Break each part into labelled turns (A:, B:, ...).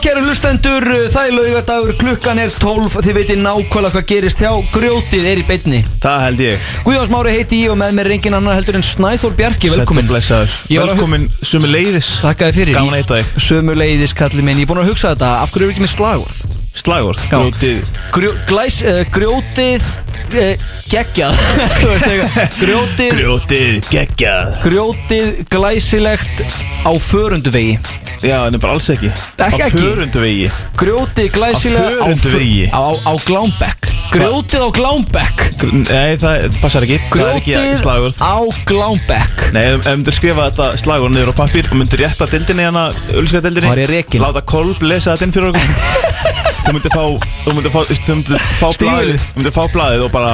A: Hlustendur, uh, það er laugadagur, klukkan er 12 Þið veitir nákvæmlega hvað gerist hjá Grjótið er í beinni
B: Það held ég
A: Guðjóns Mári heiti ég og með mér er engin annar heldur en Snæþór Bjarki
B: Sæll og
A: Velkomin
B: blessaður.
A: Ég var að-
B: Velkomin sumi leiðis
A: Þakkaði fyrir
B: Gaman að hitta þig.
A: Sömu leiðis kallið minn Ég er búin að hugsa þetta Af hverju er ekki með slagorð?
B: Slagorð
A: Já.
B: Grjótið
A: Grjó, glæs, uh, Grjótið uh, geggjað Þú veist eitthvað. Grjótið
B: Grjótið geggjað
A: Grjótið glæsilegt á förunduvegi
B: Já, en bara alls ekki
A: Ekki,
B: Á
A: ekki.
B: förundu vegi
A: Grjótið glæsilegt
B: Á förunduvegi.
A: á, á Glámbekk Grjótið á Glámbekk
B: Gr- Nei, það passar ekki Það er ekki
A: Grjótið
B: slagorð
A: á Glámbekk
B: Nei, ef ef myndir skrifa þetta slagur niður á pappir og myndir rétta dildinni hérna, ölska dildinni
A: Var ég rekinn?
B: Láta Kolb lesa þetta inn fyrir okkur Þú myndir fá, þú myndir fá, þú myndir fá
A: Stígvélið.
B: blaðið Þú myndir fá blaðið og bara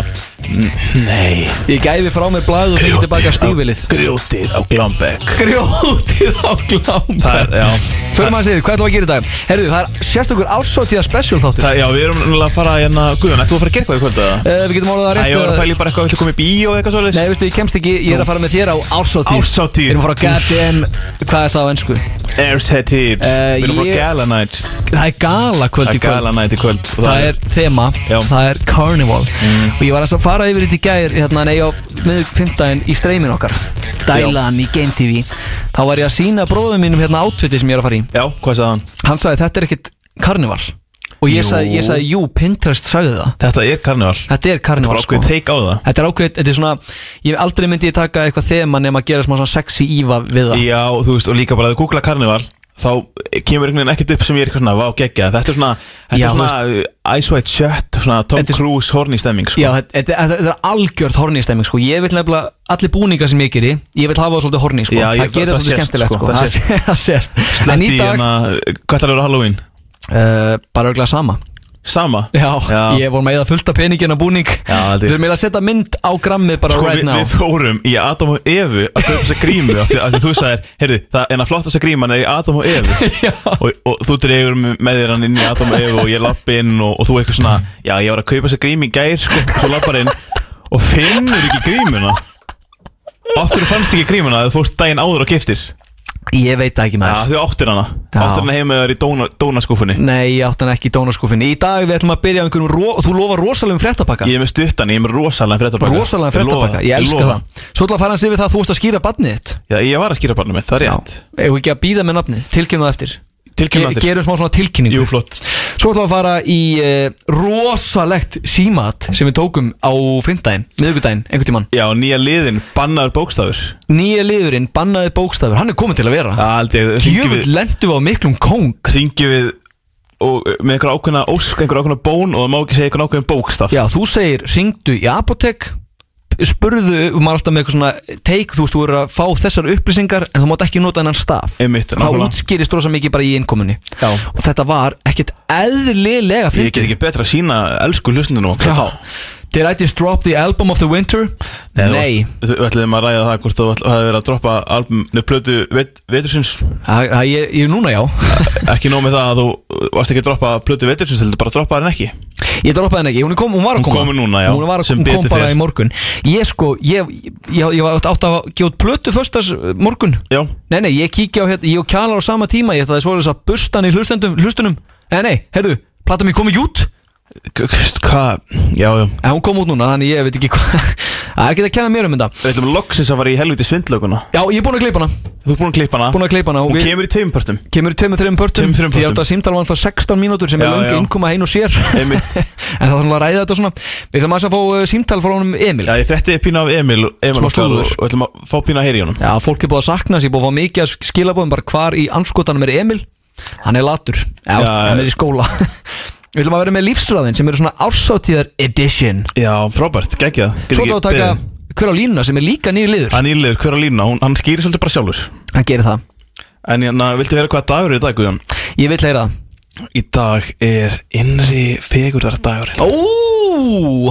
B: "N- Nei
A: Ég gæfi frá mér blaðið og fyrir tilbaka stífilið
B: Grjótið á Glambæk
A: Grjótið á
B: Það er,
A: Glámbekk
B: já
A: Fyrir maður segir, hvað ætlum við að gera í dag? Herðu, það er sérstakur ársóttíða special þáttur
B: Það, já, við erum náttúrulega að fara hérna Guðjón, ættu að fara að gera eitthvað í kvöld eða?
A: uh, Við getum orðað það
B: Æ, ég var að
A: rétt
B: fæli bara eitthvað, villu koma í bíó og eitthvað
A: Nei,
B: svolítið
A: veistu, ég kemst ekki, ég er að fara með þér á ársóttíð
B: Árshátíð.
A: Við erum að fara á goddamn, hvað er það á ennsku?
B: Airsheaded
A: Eh,
B: Við erum bara
A: ég-
B: gala night
A: Það er gala kvöld
B: Það
A: í
B: er
A: kvöld
B: gala night í kvöld og
A: það er þema,
B: Já. Mm.
A: það er Carnival og ég var aðeins að fara yfir þetta í gær hérna, nei, á miðfymdæðin í streymin okkar dælan í Game TV þá var ég að sína bróðum mínum hérna átfiti sem ég er að fara í,
B: Já, hvað sagði hann?
A: hann sagði þetta er ekkit Carnival og ég
B: Jú.
A: sagði, ég sagði, jú, Pinterest sagði það
B: Þetta er karnival
A: þetta er
B: Bara
A: Carnival sko
B: ákveðið teik á það
A: þetta er ákveðið, þetta er svona ég aldrei myndi ég taka eitthvað þema nema að gera smá svona sexy íva við það
B: Já, og þú veist, og líka bara að þú googla karnival þá kemur einhvern veginn ekkert upp sem ég er eitthvað svona, vá, geggja þetta er svona, þetta
A: Já,
B: er svona uh, Ice White Shut, svona Tom
A: Þetta er-
B: Cruise horny stemming, sko
A: Já, þetta, þetta, þetta, þetta er algjört horni stemming sko. Ég vil nefnilega, allir búningar sem ég geri Ég vil hafa það svolítið horni sko.
B: Já, ég-
A: Það gerir
B: það
A: það svolítið
B: sést,
A: skemmtilegt
B: sko,
A: sko.
B: það
A: Það
B: sést.
A: sé- Það sést En
B: Sletti
A: í
B: í
A: dag,
B: hérna, hvað það eru Halloween?
A: uh, bara örglega sama
B: Sama?
A: Já,
B: Já.
A: ég voru með að fullta peningin á búning
B: Já, þetta
A: Þau
B: er-
A: erum eiginlega að setja mynd á grammið bara
B: Sko,
A: right
B: við,
A: now
B: við fórum í Adam og Evu að kaupa þessa grímu af því, af því þú sagðir, heyrðu, það en að flottast að gríman er í Adam og Evu
A: Já.
B: og, og þú dregur með þér hann inn í Adam og Evu og ég lapp inn og, og þú eitthvað svona já, ég var að kaupa þessa grími í gær, sko og svo lappar inn og finnur ekki grímuna Okkur fannst ekki grímuna að þú fórst daginn áður og giftir
A: Ég veit það ekki
B: Já,
A: maður
B: þau áttir hana
A: Já. Mm,
B: Áttir hana heima þar í dóna, dónaskúfunni
A: Nei, ég átti hann ekki í dónaskúfinni Í dag við ætlum að byrja á einhverjum ro Þú lofa rosalegum fréttapakka
B: Ég er með stuttan, ég er með rosalega fréttabakka
A: Rosalegum fréttapakka, ég elska það Svo ætla að fara hans yfir það að þú ert að skýra badnið þitt
B: Já, ég var að skýra barnum mitt, það er
A: Já,
B: rétt
A: eigum við ekki að býða með nafnið, tilkynna það eftir
B: Tilkynnum
A: Ge-
B: eftir.
A: Gerum smá svona tilkynningu
B: Jú, flott
A: Svo ætlum við að fara í uh, rosalegt símat sem við tókum á fymdægin, miðugudægin, einhvern tímann
B: Já, nýja liðin, bannaður bókstafur
A: Nýja liðurinn, bannaði bókstafur, hann er kominn til að vera
B: Aldrei, hringjum
A: Djöfull
B: við
A: lendu við á miklum kóng
B: Hringjum við og, uh, með einhver ákveðna ósk, einhver ákveðna bón og það má ekki segja einhver ákveðin bókstaf
A: Já, þú segir, ringdu í apotek spurðu, maður er alltaf með eitthvað svona teik, þú veist, þú eru að fá þessar upplýsingar en þú mátt ekki nota hennan staf
B: Einmitt,
A: þá
B: nákvæmlega.
A: útskýrist rosa mikið bara í innkomunni
B: Já.
A: og þetta var ekkert
B: Ég
A: eðlilega
B: get
A: fyndið.
B: ekki betra að sína elsku hlustinu
A: Já Did I just drop the album of the winter? Nei,
B: Þú ætliðum að ræða það hvort þú ætl- hafði verið að droppa album, nefn plötu vet, vetursins
A: það það- ég, ég núna já
B: Ekki nóg með það að þú varst ekki að droppa plötu vetursins, heldur bara að droppa hann ekki
A: Ég droppaði henni ekki, hún, er kom, hún var að
B: Hún
A: koma
B: komin núna, já,
A: Hún var að
B: sem
A: hún kom
B: betur
A: bara
B: fer.
A: í morgun Ég sko, ég, ég, ég var átt átt að gefa út plötu föstas morgun
B: Já,
A: Nei, nei, ég kíkja á hérna, ég og Kjalar á sama tíma Ég ætlaði svo þess að bustan í hlustendum, hlustunum Nei, nei, heyrðu, plata mér kom ekki út
B: K- k- hvað, já, já
A: En hún kom út núna, þannig ég veit ekki hvað Það er ekki að kenna mér um þetta
B: Við ætlum loksins að fara í helviti svindlöguna
A: Já, ég er búin að kleipa hana
B: Þú ert búin að klippa hana
A: Búin að klippa hana og
B: Hún
A: við-
B: kemur í tveim pörtum
A: Kemur í tveimur, þreimur pörtum
B: Tveimur, þremur
A: Því að
B: pörtum.
A: þetta símtal var alltaf 16 mínútur sem
B: Já,
A: er
B: já.
A: löngu innkoma ein og sér En
B: Einmitt.
A: það þarf nú að ræða þetta svona Við ætlum aðeins að fá uh, símtal frá honum Emil
B: Já, ég þetta er pína af Emil, Emil
A: Smá
B: okkar og,
A: slúður.
B: og ætlum að fá pína að heyra í honum
A: Já, fólk er búið að sakna sér, búið að fá mikið að skilabóðum bara hvar í anskotanum er Emil Hann er latur, já,
B: Já,
A: hann er í skóla Við ætlum að vera með lífsræðin sem eru svona ársátíðar edition
B: Já, frábært, geggjað Get
A: Svo
B: ekki
A: þá að taka
B: beðið.
A: hver á línuna sem er líka nýr liður
B: Hann ílir, hver að lína, hún, hann skýrir svolítið bara sjálfur
A: Hann gerir það,
B: En hérna, viltu vera hvað dagur er í dag, Guðjón?
A: ég vil heyra það
B: Í dag er innri fegurðar dagur
A: Ó,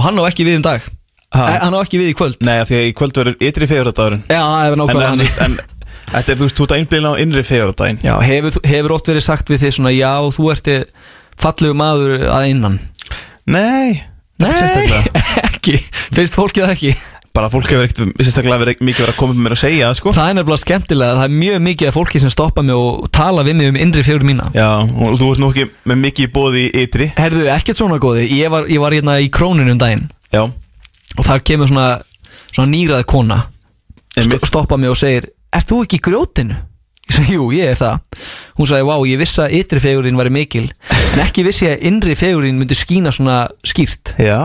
A: hann á ekki við um dag
B: Ha?
A: Eh, Hann á ekki við í kvöld
B: Nei, af því að í kvöld verður ytri fegurðar dagurinn
A: Já, ef hann
B: En,
A: ákvæða
B: en,
A: hann
B: en, en þetta er, þú veist, þú ert að einblýna á innri fegurðar daginn
A: Já, hefur, hefur oft verið sagt við þig svona Já, þú ert fallegu maður að innan
B: Nei,
A: Nei,
B: sérstaklega
A: ekki, finnst fólki það ekki
B: bara fólk hefur ekkert sérstaklega verið mikið verið að koma með mér og segja það, sko
A: Það er nefnilega skemmtilega, það er mjög mikið af fólki sem stoppa mig og tala við mig um innri fjögur mína
B: Já, og þú ert nú ekki með mikið í bóði í ytri
A: Herðu, ekkert svona góði, ég var, ég var hérna í króninu um daginn
B: Já,
A: og þar kemur svona, svona nýrað kona st
B: einmitt
A: stoppa mig og segir, er þú ekki í grjótinu? Ég segi, jú, ég er það Hún sagði, vá, ég vissi að ytri fegurinn væri mikil en ekki vissi ég að innri fegurinn myndi skína svona skýrt
B: Já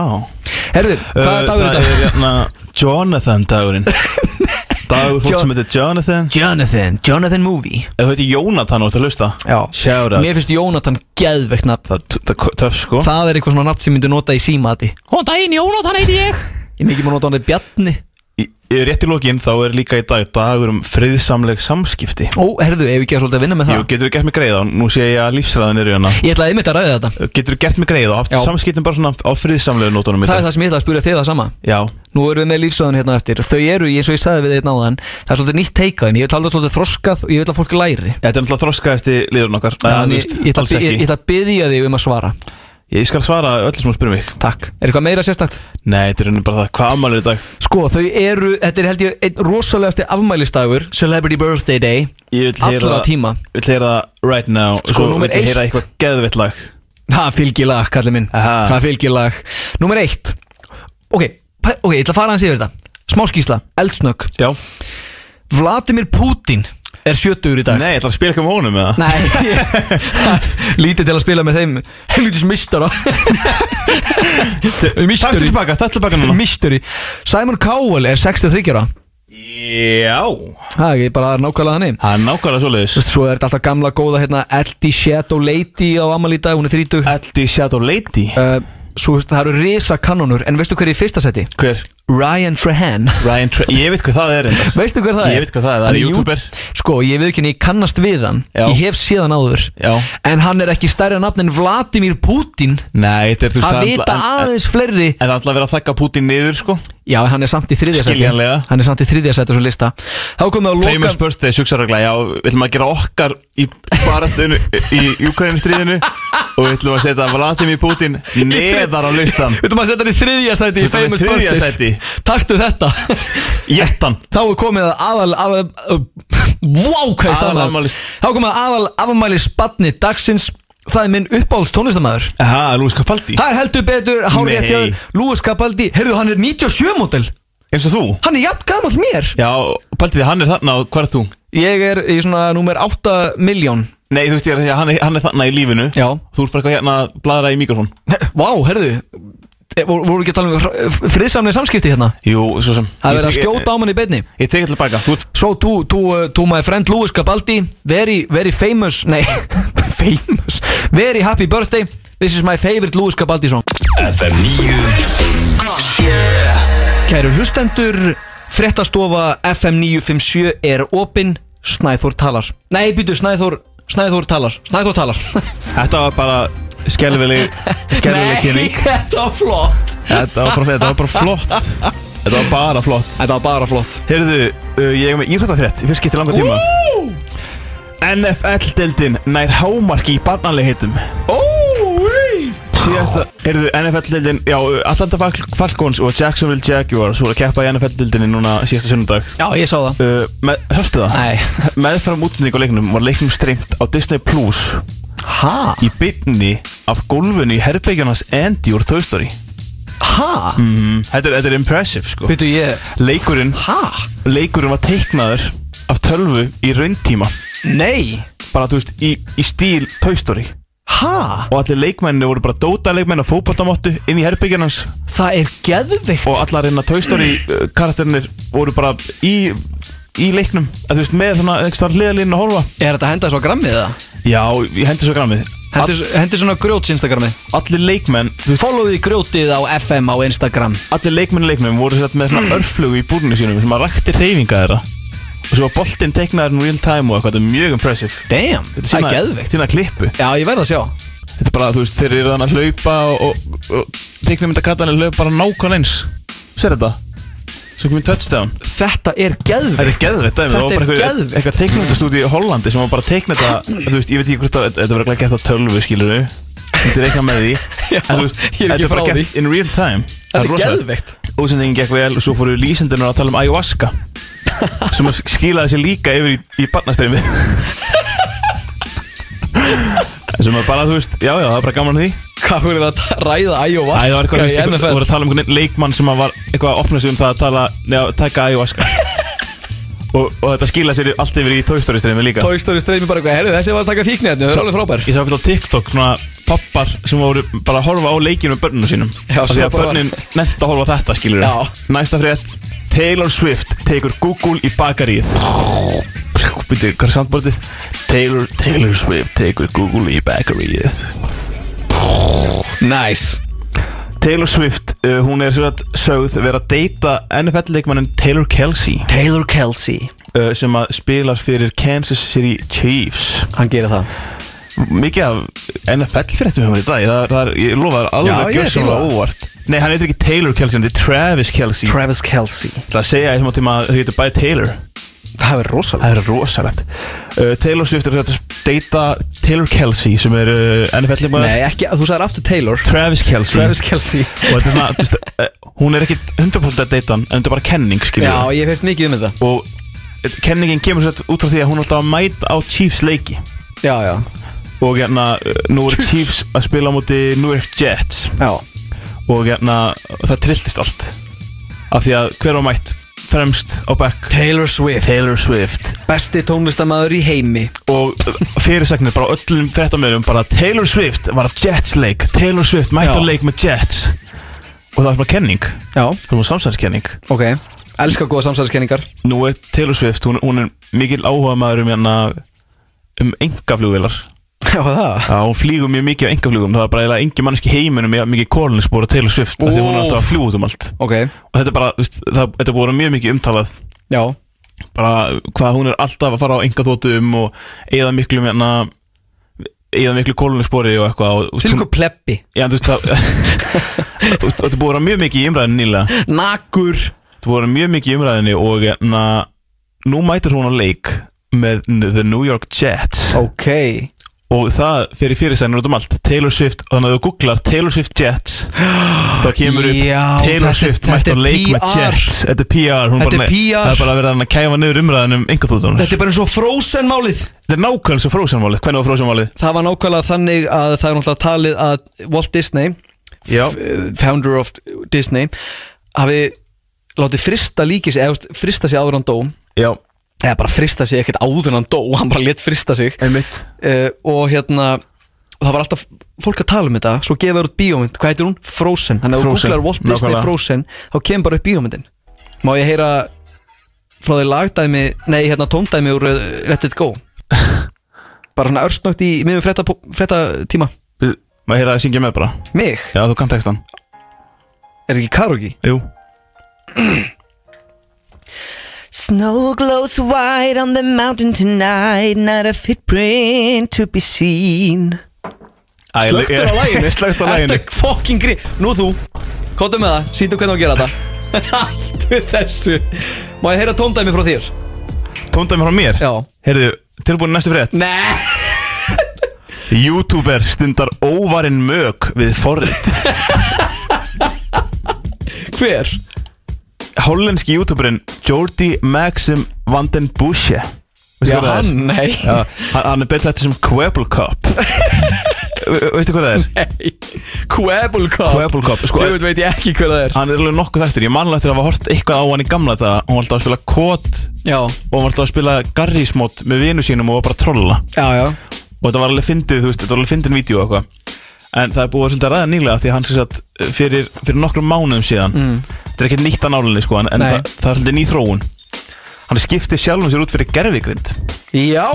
A: Herðu, hvað
B: Uh,
A: er dagur í dag?
B: Það er hérna Jonathan dagurinn Dagur fólk
A: Jo-
B: sem heitir Jonathan
A: Jonathan, Jonathan Movie
B: Ef þú heitir Jónatan og þú ert að hlusta
A: Já,
B: Shout out
A: mér finnst Jónatan geðveikt nafn
B: Það það er töff, sko
A: Það er eitthvað svona nafn sem myndi nota í símaði Góðan daginn, Jónatan heiti ég Ég er mikið maður nota hann við Bjarni
B: Í- í- Rétt í lokinn þá er líka í dag dagur um friðsamleg samskipti
A: Ó, herðu, ef við ekki að svolítið að vinna með það
B: Jú, getur þú gert mig greið á, nú sé ég að lífsræðan er í hana
A: Ég ætlaði einmitt að ræða þetta
B: Getur þú gert mig greið á, haft
A: Já.
B: samskiptin bara svona á friðsamlegu nótunum í
A: Það er
B: dag?
A: það sem ég ætla að spyrja þig það sama
B: Já,
A: Nú erum við með lífsöðun hérna eftir Þau eru, eins og ég sagði við þeir náðan Það er svolítið nýtt teika þeim Ég vil tala svolítið þroskað og ég vil að fólk læri
B: þetta er náttúrulega þroskaðasti liðurinn okkar Nei,
A: Þannig
B: þú veist,
A: ég, ég, ætla
B: alls
A: að- ég, ég
B: ekki.
A: ætla að byðja þig um að svara
B: Ég skal svara öllu sem þú spyrir mig
A: Takk Er eitthvað meira sérstakt?
B: Nei, þetta er raunin bara það, hvað ammálið í dag?
A: Sko, þau eru, þetta er held ég einn rosalegasti afmælistagur Celebrity Birthday Day
B: Ég vil heyra
A: Allra
B: það-
A: tíma
B: Vil heyra það right now
A: Sko,
B: Svo
A: númer
B: vil ég heyra
A: eitt.
B: eitthvað geðvitt lag
A: Það fylgir lag, kallið minn
B: Aha.
A: Það fylgir lag Númer eitt Ok, pæ- ok, ég ætla að fara hans yfir þetta Smáskísla, eldsnögg
B: Já
A: Vladimir Putin er sjötugur í dag
B: Nei, ég ætla að spila eitthvað með honum eða
A: Nei Lítið til að spila með þeim Helvitis mistara
B: Takk
A: Mistari
B: tilbaka, takk tilbaka núna
A: Mistari Simon Cowell er 63 ára
B: Já
A: Það er bara nákvæmlega þannig
B: Það er nákvæmlega svoleiðis
A: Svo er þetta alltaf gamla góða hérna Eldi Shadow Lady á Amal í dag Hún er 30 uh,
B: Eldi Shadow Lady
A: Svo veist, það eru risa kanonur En veistu hver er í fyrsta seti?
B: Hver?
A: Ryan Trahan
B: Ryan Tra Ég veit hvað það er reyndar.
A: Veistu hver það er?
B: Ég veit hvað það er, það er
A: Hann jú-
B: YouTuber.
A: Sko, ég veit ekki en ég kannast við hann
B: Já.
A: Ég hef séð hann áður
B: Já.
A: En hann er ekki stærri nafn en Vladimir Putin
B: Nei, þetta er þú veist
A: að
B: það er
A: vita
B: alltaf- en-
A: aðeins fleiri
B: En það ætla að vera að þakka Putin niður sko
A: Já, en hann er samt í þriðja sæti
B: Skiljanlega.
A: Hann er samt í þriðja sæti á þessum lista Þá komum við að
B: Famous
A: loka
B: birthday, suksarregla Já, við ætlum að gera okkar í baratunu Í Ukraínustríðinu Og við ætlum að setja Vladimir Putin Neðar á listan
A: Við ætlum að setja hann í þriðja sæti í
B: Setja hann í
A: Famous
B: þriðja
A: Birthdays Taktu þetta
B: Jettan
A: Þá er komið að aðal, aðal uh, Wow, hvað ég
B: Aðal
A: stafna
B: afmælis-
A: Þá er komið að aðal afmæli spanni dagsins Það er minn uppáhalds tónlistamæður
B: Aha, Lúis Capaldi
A: Það er heldur betur, hárið
B: Nei.
A: eftir aður Lúis Capaldi, heyrðu hann er 97 mótel
B: Eins og þú
A: Hann er jafn gamall mér
B: Já, Paldi, hann er þarna og hvað er þú?
A: Ég er í svona númer 8 miljón
B: Nei, þú veist ég er að segja, hann er, hann er þarna í lífinu
A: Já
B: Þú ert bara eitthvað hérna að bladra í mikrofón
A: Vá, herðu eh, voru voru ekki að tala um hr- friðsamlega samskipti hérna
B: Jú, svo sem
A: Það er
B: Ég-
A: verið að
B: ég-
A: skjóta á manni í beinni
B: Ég tek allir baka, þú ert
A: So to, to, uh, to my friend Louis Cabaldi Very, very famous Nei, famous Very happy birthday This is my favorite Louis Cabaldi song
C: FM 957
A: Kæru hlustendur Frettastofa FM 957 er opin Snæþór talar Nei, býtu, Snæþór Snæþór talar Snæþór talar
B: Þetta var bara skelvileg Skelvileg
A: Nei,
B: kynning
A: þetta var flott
B: Þetta var bara, þetta var bara flott Þetta var bara flott
A: Þetta var bara flott
B: Heyrðu, uh, ég er með íþróttafrétt í fyrst skipti í langan tíma NFL-deldin nær hámarki í barnalegheitum
A: Ói
B: Síðasta, heyrðu, NFL-deldin, já, Atlanta Fal- Falcons og Jacksonville Jaguars voru að keppa í NFL-deldinni núna síðasta sunnudag
A: Já, ég sá það
B: uh, með, Sástu það?
A: Nei
B: Meðfram útlending á leiknum var leiknum streymt á Disney Plus
A: Ha?
B: í byrni af gólfinu í herrbegjarnas Andy úr Toy Story
A: Ha?
B: mm. þetta, er, þetta er impressive, sko
A: Býtu ég
B: Leikurinn
A: Ha?
B: leikurinn var teiknaður af tölvu í rauntíma
A: Nei
B: bara þú veist í, í stíl Toy Story
A: Ha?
B: og allir leikmenni voru bara dóta leikmenn og fótballtamottu inn í herbyggjan hans
A: Það er geðvikt
B: og allar hérna Toy Story uh, karakterinir voru bara í í leiknum, að þú veist með svona ekstra hliðalínu að horfa
A: Er þetta að henda svo á grammið það?
B: já, ég hendi svo grammið
A: Hendi, hendi svona grjóts Instagramið
B: allir leikmenn, þú veist,
A: Followið grjótið á FM á Instagram
B: allir leikmenn í leiknum voru sett með svona örflugu í búrinu sínum sem að rakti reyfinga þeirra og svo var boltinn teiknaður in real time og eitthvað, þetta er mjög impressive
A: Damn, það er geðvikt
B: Sýna klippu
A: Já, ég verð að sjá
B: Þetta er bara, þú veist, þeir eru þannig að hlaupa og, og, og teiknumyndakatlanir hlaupa bara nákvæmlega eins Sér þetta? Svo komið touchdown
A: Þetta er
B: Þetta er
A: geðvikt
B: geðveitt dæmi, það
A: Þetta
B: var bara
A: er
B: einhver-
A: geðveikt.
B: eitthvað teiknumyndastúdíu í Hollandi sem var bara að teikna þetta Þú veist, ég veit ekki hvort það, þetta var ekki gett á tölvu, skilur við Þetta er eitthvað með því
A: Já,
B: En þú veist,
A: ég er ekki
B: þetta er
A: frá
B: bara
A: því.
B: gert in real time
A: Þetta
B: er
D: Þetta er
B: rosalegt.
D: geðveikt
B: Útsendingin gekk vel og svo fóru lýsendurnar að tala um ayahuasca sem að skilaði sér líka yfir í, í barnastreymi sem að bara, þú veist, já, já, það er bara gaman að því
A: Hvað voru það að ræða
B: Æ, það var
A: ayahuasca
B: eitthvað,
A: í
B: eitthvað,
A: NFL?
B: voru að tala um einhvern leikmann sem að var eitthvað að opna sig um það að tala, neða, taka ayahuasca og, og þetta skilaði sér allt yfir í tókstóristreymi líka
A: Toy Story streymi bara eitthvað, herru þessi var að taka fíknefni, það er alveg frábær
B: Ég sá fyrir á TikTok svona pappar sem voru bara að horfa á leikinu með börnunum sínum
A: Já,
B: Af Því
A: svo
B: að
A: bara-
B: börnin nefnt að horfa á þetta skilur
A: Já.
B: Næsta frétt Taylor Swift tekur Google í bakaríð Býtu, hvað er sandbordið? Taylor, Taylor Swift tekur Google í bakaríð
A: Nice
B: Taylor Swift, uh, hún er svo að sögð vera að deyta NFL-leikmannin Taylor Kelsey
A: Taylor Kelsey
B: uh, sem að spilar fyrir Kansas City Chiefs
A: Hann gerir það
B: mikið af NFL-fréttum hefur í dag það, það er, ég lofa það er
D: Já,
B: alveg
D: ég
B: gjörsamlega
D: fíla það.
B: óvart Nei, hann heitir ekki Taylor Kelsey, hann heitir Travis Kelsey Tra
A: Travis Kelsey
B: Það segja eitthvað tíma að þau heitir bæði Taylor
D: Það er rosalega
B: Það er rosalegt uh, Taylor Swift er að deyta Taylor Kelsey sem er uh, NFL-leikmaður
A: Nei, ekki, þú sagðir aftur Taylor
B: Travis Kelsey
A: Travis Kelsey
B: og þetta er svona, þú veist, uh, hún er ekki 100% að deyta hann en þetta er bara kenning, skiljum
A: Já, ég hef hérst mikið um þetta
B: og eh, kenningin kemur sér út frá því að hún er alltaf að mæta á Chiefs leiki
A: Já, já,
B: og hérna, eh, nú er Chiefs að spila á móti New York Jets
A: já
B: og hérna, það trilltist allt af því að hver var mætt fremst á bekk
A: Taylor Swift
B: Taylor Swift
A: Besti tónlistamæður í heimi
B: og eh, fyrirsagnir bara á öllum fréttamöðum bara Taylor Swift var að Jets leik Taylor Swift mætt á
A: Já.
B: leik með Jets og það var bara kenning það
A: Já,
B: var samsæðiskenning
A: ok Elskar góða samsæðiskenningar
B: nú er Taylor Swift, hún, hún er mikil áhuga maður um hérna um engaflugvilar
A: Já, það
B: Já, hún flýgur mjög mikið á engaflugum það er bara eiginlega engin mannski heiminum mjög mikið kólunisbúr á Taylor Swift af því að hún er alltaf að fljúa út um allt
A: Ok,
B: og þetta er bara, þú veist, það, þetta er búin að vera mjög mikið umtalað
A: já
B: bara hvað hún er alltaf að fara á enga þótum og eigða miklu hérna, eigða miklu kólunispori og eitthvað og,
A: Til ykkur pleppi
B: Já, þú veist það og og þetta búið að vera mjög mikið í umræðinu nýlega
A: Nakur
B: þetta búið að vera mjög mikið í umræðinu og na, nú mætir hún á leik með n- The New York Jets
A: Ok
B: og það fyrir fyrirsænir út um allt Taylor Swift, þannig að þú googlar Taylor Swift Jets þá kemur upp
A: Já, þetta
B: Taylor
A: er-
B: Swift
A: þetta
B: mætt á
A: er
B: leik með
A: PR.
B: Jets Þetta er PR, hún
A: Þetta
B: bara,
A: er PR.
B: það er bara að vera að kæfa niður umræðinu um enga þóttunum
A: Þetta er bara eins og Frozen málið
B: Þetta er nákvæmlega svo frósanmálið, hvernig var frósanmálið?
A: Það var nákvæmlega þannig að það er náttúrulega talið að Walt Disney
B: Já.
A: f- Founder of Disney hafi látið frista líkis eða þú veist, frista sig áður en hann dó
B: Já,
A: eða bara frista sig ekkert áður en hann dó hann bara let frista sig
B: einmitt
A: uh, og hérna og það var alltaf fólk að tala um þetta svo gefa þér út bíómynd, hvað heitir hún? Frozen þannig að ef þú
B: Frozen,
A: googlar Walt Disney
B: nákvæmlega.
A: Frozen þá kemur bara upp bíómyndin má ég heyra frá því lagdæmi nei hérna tóndæmi úr uh, Let It Go bara svona örstnögt í miðum frétta, frétta tíma
B: Maður heyrði að syngja með bara
A: mig,
B: Já, þú kann textan
A: er ekki karaoke?
B: Jú
E: Snow glows white on the mountain tonight, not a footprint to be seen.
A: Slökktur á læginu
B: Slögt á læginu
A: Þetta er fucking grí Nú þú Kóta með það Sýtu hvernig á að gera þetta Hættu þessu Má ég heyra tóndæmi frá þér?
B: Tóndæmi frá mér
A: Já
B: Heyrðu, tilbúin í næstu frétt
A: Nei
B: Youtuber stundar óvarinn mög við forrið
A: Hver?
B: Hollenski youtuberinn Jordi Maxim van den Busche Veistu
A: Já
B: hvað það er?
A: hann, nei
B: Já, hann, hann er betur þetta sem Quebble Cup Ve- Veistu hvað það er?
A: Nei Quebble Cup
B: Quebble Cup, sko-
A: Djöfull veit ég ekki hver það er
B: Hann er alveg nokkuð þekktur Ég manlega eftir að hafa hort eitthvað á hann í gamla þetta Hún var alltaf að spila kót
A: Já
B: og hann var alltaf að spila garrísmót með vinu sínum og var bara að trolla
A: Já, já
B: og þetta var alveg fyndið, þú veist, þetta var alveg fyndin vídeo og eitthvað en það er búið að svolítið að ræða nýlega því að hann sér satt fyrir, fyrir nokkrum mánuðum síðan þetta er ekkert nýtt að nálinni sko en en
A: Nei.
B: það, það er svolítið ný þróun hann skipti sjálfum sér út fyrir gerðvikrind
A: Já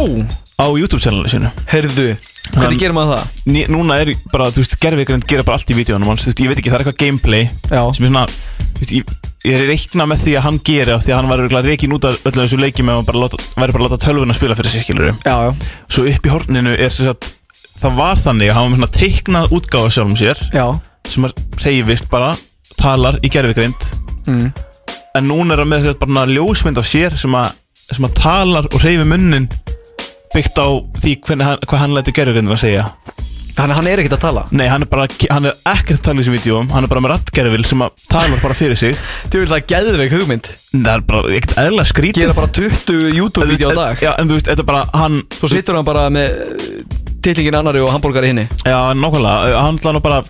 B: á YouTube-channelinu sínu
A: Herðu
B: Hann-
A: Hvernig gerum maður það?
B: Ný, núna er bara, þú veist, gerðvikrind gera bara allt í vídeoanum hans, þú veist, ég veit ekki, það er eitthvað gameplay
A: Já.
B: sem er svona, þú veist, ég, ég er reikna með því að hann gera því að hann var örugglega rekinn út af öllum þessum leikjum ef hann bara láta- væri bara að láta tölvuna spila fyrir sig, skilurðu.
A: Já, já
B: svo upp í horninu er sem sagt það var þannig að hann var með svona teiknað útgáfa af sjálfum sér
A: Já
B: sem að reyfist bara talar í gerfigrind
A: Mm.
B: en núna er hann með sem sagt bara svona ljósmynd af sér sem að, sem að talar og reyfi munnin byggt á því hvernig hann, hvað hann lætur gerfigrindin að segja
A: Þannig að hann er ekkert að tala
B: Nei, hann er bara, hann er ekkert að tala í þessum vídjum Hann er bara með rattgerfil sem að talar bara fyrir sig
A: Þú vil það geðveik hugmynd
B: Það er bara ekkert eðla skrítið
A: Gera bara 20 YouTube-vídeó á dag
B: Já, en þú veist, þetta er bara, hann
A: Svo situr hann bara með tillingin annari og hambúrgar í hinni
B: Já, nákvæmlega, hann ætla nú bara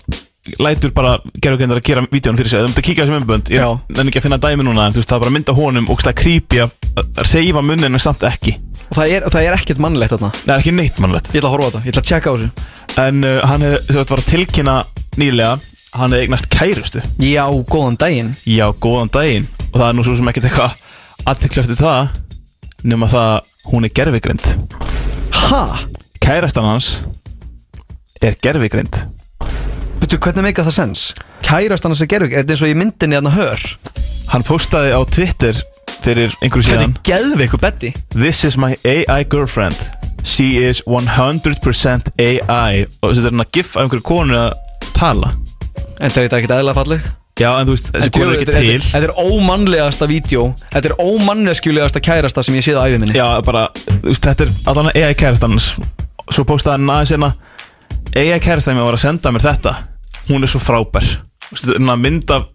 B: Lætur bara gerðugindar að gera vídjón fyrir sig Ef þú myndir kíkja á þessum umbönd Ég
A: Já.
B: nenni ekki að finna dæmi núna En þú veist, það er bara mynd á honum og slag creepy að að reyfa munninu samt ekki
A: Og það er, það er ekkert mannlegt þarna
B: Það er ekki neitt mannlegt
A: Ég ætla að horfa á þetta, ég ætla að tjekka á þessu
B: En uh, hann hefði, þú veist, var að tilkynna nýlega Hann hefði eignast kærustu
A: Já, góðan daginn
B: Já, góðan daginn Og það er nú svo sem ekkert eitthvað aðtilklast það Nefn það hún er gerfigrind
A: Ha?
B: Kærastan hans er gerfigrind
A: Veitu, hvernig meika það sens? Kærast hann að segja gerðveik, þetta er eins og ég myndinni hann að hör
B: Hann postaði á Twitter fyrir einhverju
A: Þetta
B: síðan
A: er geðveik og betti
B: This is my AI girlfriend She is 100% AI Og þetta er hann að gif af einhverju konu að tala
A: En þetta er ekkert eðla falleg
B: Já, en þú veist, þessi
A: En
B: konu er
A: djöfull,
B: ekki
A: þetta-
B: til
A: Þetta þetta er ómannlegasta vídeo Þetta er ómanneskjulegasta kærasta sem ég séð á æfið minni
B: Já, bara, þú veist, þetta er allan að AI kærastan hans Svo postaði hann aðeins hérna AI kærastan mér var að senda mér þetta Hún er svo frábær Þú veist, Þetta er svona mynd af